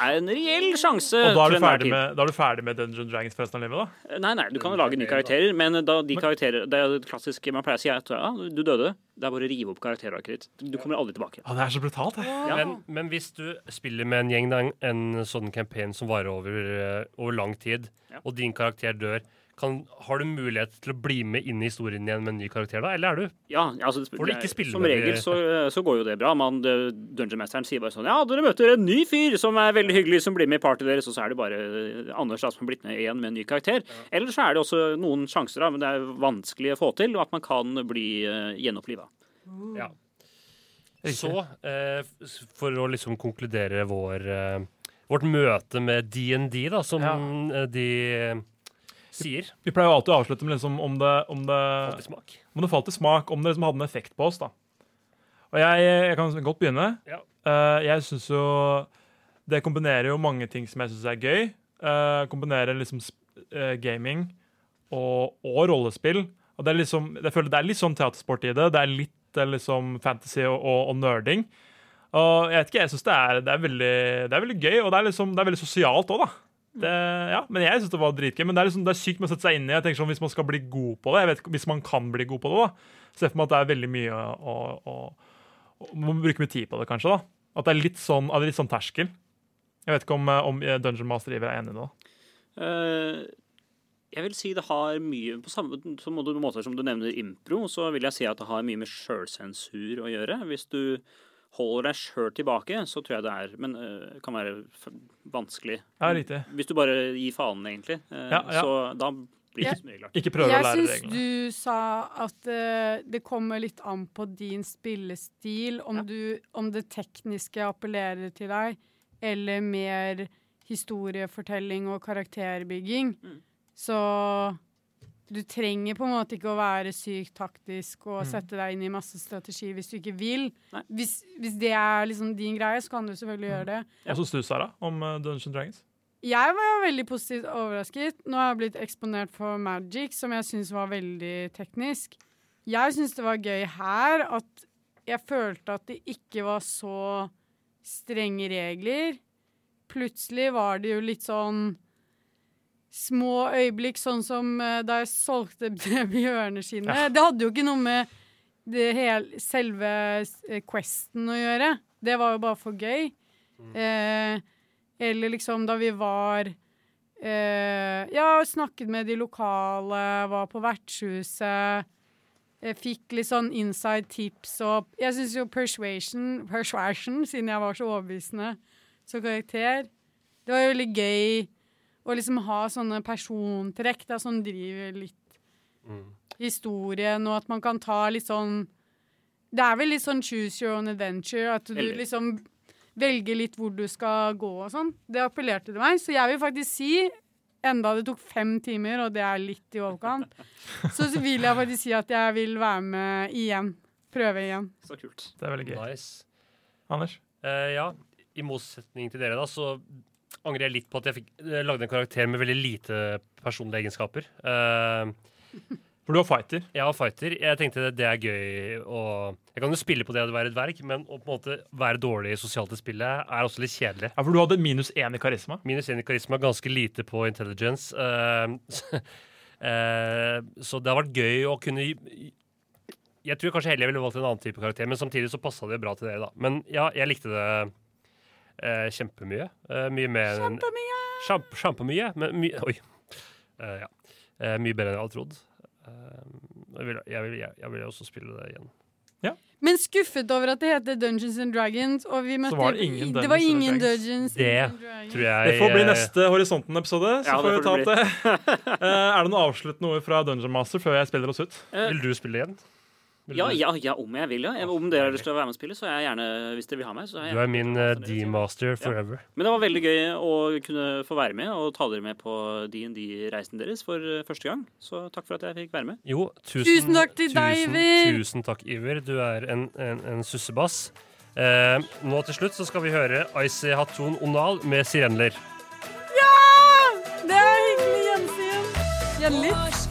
I: Er en reell sjanse.
H: Og da er,
I: til
H: du
I: enhver
H: ferdig
I: tid.
H: med, da er du ferdig med Dungeons and Dragons for resten av livet, da?
I: Nei, nei, du kan jo lage nye karakterer, men da de karakterer, det er jo det klassiske man pleier å si, er at ja, du døde. Det er bare å rive opp karakterarket ditt. Du kommer aldri tilbake.
H: Å, det er så brutalt, det.
F: Men, men hvis du spiller med en gjeng, da, en, en sånn campaign som varer over, eh, over lang tid, og din karakter dør, kan, har du mulighet til å bli med inn i historien igjen med en ny karakter da, eller er du?
I: Ja, ja, altså, det
F: Får du ikke spille
I: Som
F: med
I: regel
F: de-
I: så, så går jo det bra. Man, det- Dungeon-mesteren sier bare sånn Ja, dere møter en ny fyr som er veldig hyggelig, som blir med i partyet deres, og så er det bare eh, Anders da, som har blitt med igjen med en ny karakter. Eller så er det også noen sjanser, da, men det er vanskelig å få til, og at man kan bli uh, gjenoppliva.
F: Ja. Så, eh, f- for å liksom konkludere vår, eh, vårt møte med D&D, da, som eh, de sier.
H: Vi pleier jo alltid å avslutte med liksom om det Om det falt i
F: smak.
H: Om det, falt i smak, om det liksom hadde en effekt på oss, da. Og jeg, jeg kan godt begynne.
F: Ja.
H: Eh, jeg syns jo Det kombinerer jo mange ting som jeg syns er gøy. Eh, kombinerer liksom sp eh, gaming og, og rollespill. Og det er liksom, jeg føler det er litt sånn teatersport i det. Det er litt eh, liksom fantasy og, og, og nerding. Og jeg vet ikke, jeg syns det, er- det, er veldig- det er veldig gøy, og det er, liksom, det er veldig sosialt òg, da. Det, ja, men jeg synes det var dritgøy. Men det er, liksom, det er sykt med å sette seg inn i. Jeg tenker sånn, Hvis man skal bli god på det, jeg vet ikke, hvis man kan bli god på det, da, ser jeg for meg at det er veldig mye å, å, å Man må bruke mye tid på det, kanskje. da. At det er litt sånn, at det er litt sånn terskel. Jeg vet ikke om, eh, om eh, Dungeon Master Iver er enig i det. da.
I: Eh, jeg vil si det har mye På samme på måte, på måter som du nevner impro, så vil jeg si at det har mye med sjølsensur å gjøre. Hvis du holder deg sjøl tilbake, så tror jeg det er Men eh, kan være f- vanskelig.
H: Ja, riktig.
I: Hvis du bare gir faen, egentlig. eh,
H: Ja, ja.
I: Så da blir det ikke så mye klart.
H: Ikke prøve å
E: jeg
H: lære
E: syns
H: reglene.
E: du sa at eh, det kommer litt an på din spillestil, om, du, om det tekniske appellerer til deg, eller mer historiefortelling og karakterbygging. Så du trenger på en måte ikke å være sykt taktisk og
P: Mm.
E: sette deg inn i masse strategi hvis du ikke vil. Hvis, hvis det er liksom din greie, så kan du selvfølgelig
H: Mm.
E: gjøre det.
H: Hva syns du, Sara, om eh, Dungeons Dragons?
E: Jeg var veldig positivt overrasket. Nå har jeg blitt eksponert for Magic, som jeg syns var veldig teknisk. Jeg syns det var gøy her at jeg følte at det ikke var så strenge regler. Plutselig var det jo litt sånn små øyeblikk, sånn som eh, da jeg solgte bjørneskinnet.
P: Ja.
E: Det hadde jo ikke noe med det hel, selve eh, questen å gjøre. Det var jo bare for gøy. Eh, eller liksom da vi var eh, Ja, snakket med de lokale, var på vertshuset. eh, fikk litt sånn inside tips og Jeg syns jo persuasion, persuasion, siden jeg var så overbevisende som karakter Det var jo veldig gøy å liksom ha sånne persontrekk da, som driver litt
F: Mm.
E: historien, og at man kan ta litt sånn Det er vel litt sånn choose your own adventure, at du
P: Veldig.
E: liksom velger litt hvor du skal gå og sånn. Det appellerte til meg, så jeg vil faktisk si Enda det tok fem timer, og det er litt i overkant, så vil jeg faktisk si at jeg vil være med igjen. Prøve igjen.
I: Så kult.
H: Det er veldig gøy.
F: Nice.
H: Anders?
F: Eh, ja, i motsetning til dere da, så angrer jeg litt på at jeg fikk, eh, lagde en karakter med veldig lite personlige egenskaper. Eh,
H: For du var fighter?
F: Jeg var fighter. Jeg tenkte det, det er gøy å Jeg kan jo spille på det å være dverg, men å på en måte være dårlig sosialt i spillet er også litt kjedelig.
H: Ja, For du hadde minus én i karisma?
F: Minus én i karisma, ganske lite på intelligence. eh, eh, så det har vært gøy å kunne Jeg tror kanskje heller jeg ville valgt en annen type karakter, men samtidig så passa det bra til dere, da. Men ja, jeg likte det eh, kjempemye. Eh, mye mer enn Kjempemye! Kjemp, kjempemye, men mye Oi. Eh, ja. Eh, mye bedre enn jeg hadde trodd. Eh, jeg, vil, jeg, vil, jeg, jeg vil også spille det igjen.
E: Men skuffet over at det heter Dungeons and Dragons, og vi møtte
F: var det ingen
E: det
F: Dungeons
E: var
F: and
E: ingen
F: Dragons.
E: Dungeons and
F: Det
E: Dragons.
F: tror jeg
H: Det får bli
F: eh,
H: neste Horisonten-episode. Så
F: Ja, det
H: får vi ta
F: får
H: opp
F: det
H: det. Eh, er det noe avsluttende ord fra Dungeon Master før jeg spiller oss ut?
I: Eh, Vil
F: du spille igjen?
I: Ja, ja, ja, om jeg vil, ja. Om dere har lyst til å være med og spille, så er jeg gjerne Hvis dere vil ha meg, så er jeg
F: Du er min eh, D-master forever.
I: Men det var veldig gøy å kunne få være med og ta dere med på D&D-reisen deres for eh, første gang. Så takk for at jeg fikk være med.
F: Jo, tusen,
I: Tusen takk til deg,
F: tusen-
I: Iver.
F: Tusen takk, Iver. Du er en, en, en sussebass. Eh, nå til slutt så skal vi høre Icy Hatun Onal med Sirenler.
E: Ja! Det er hyggelig gjensyn. Gjenlitt.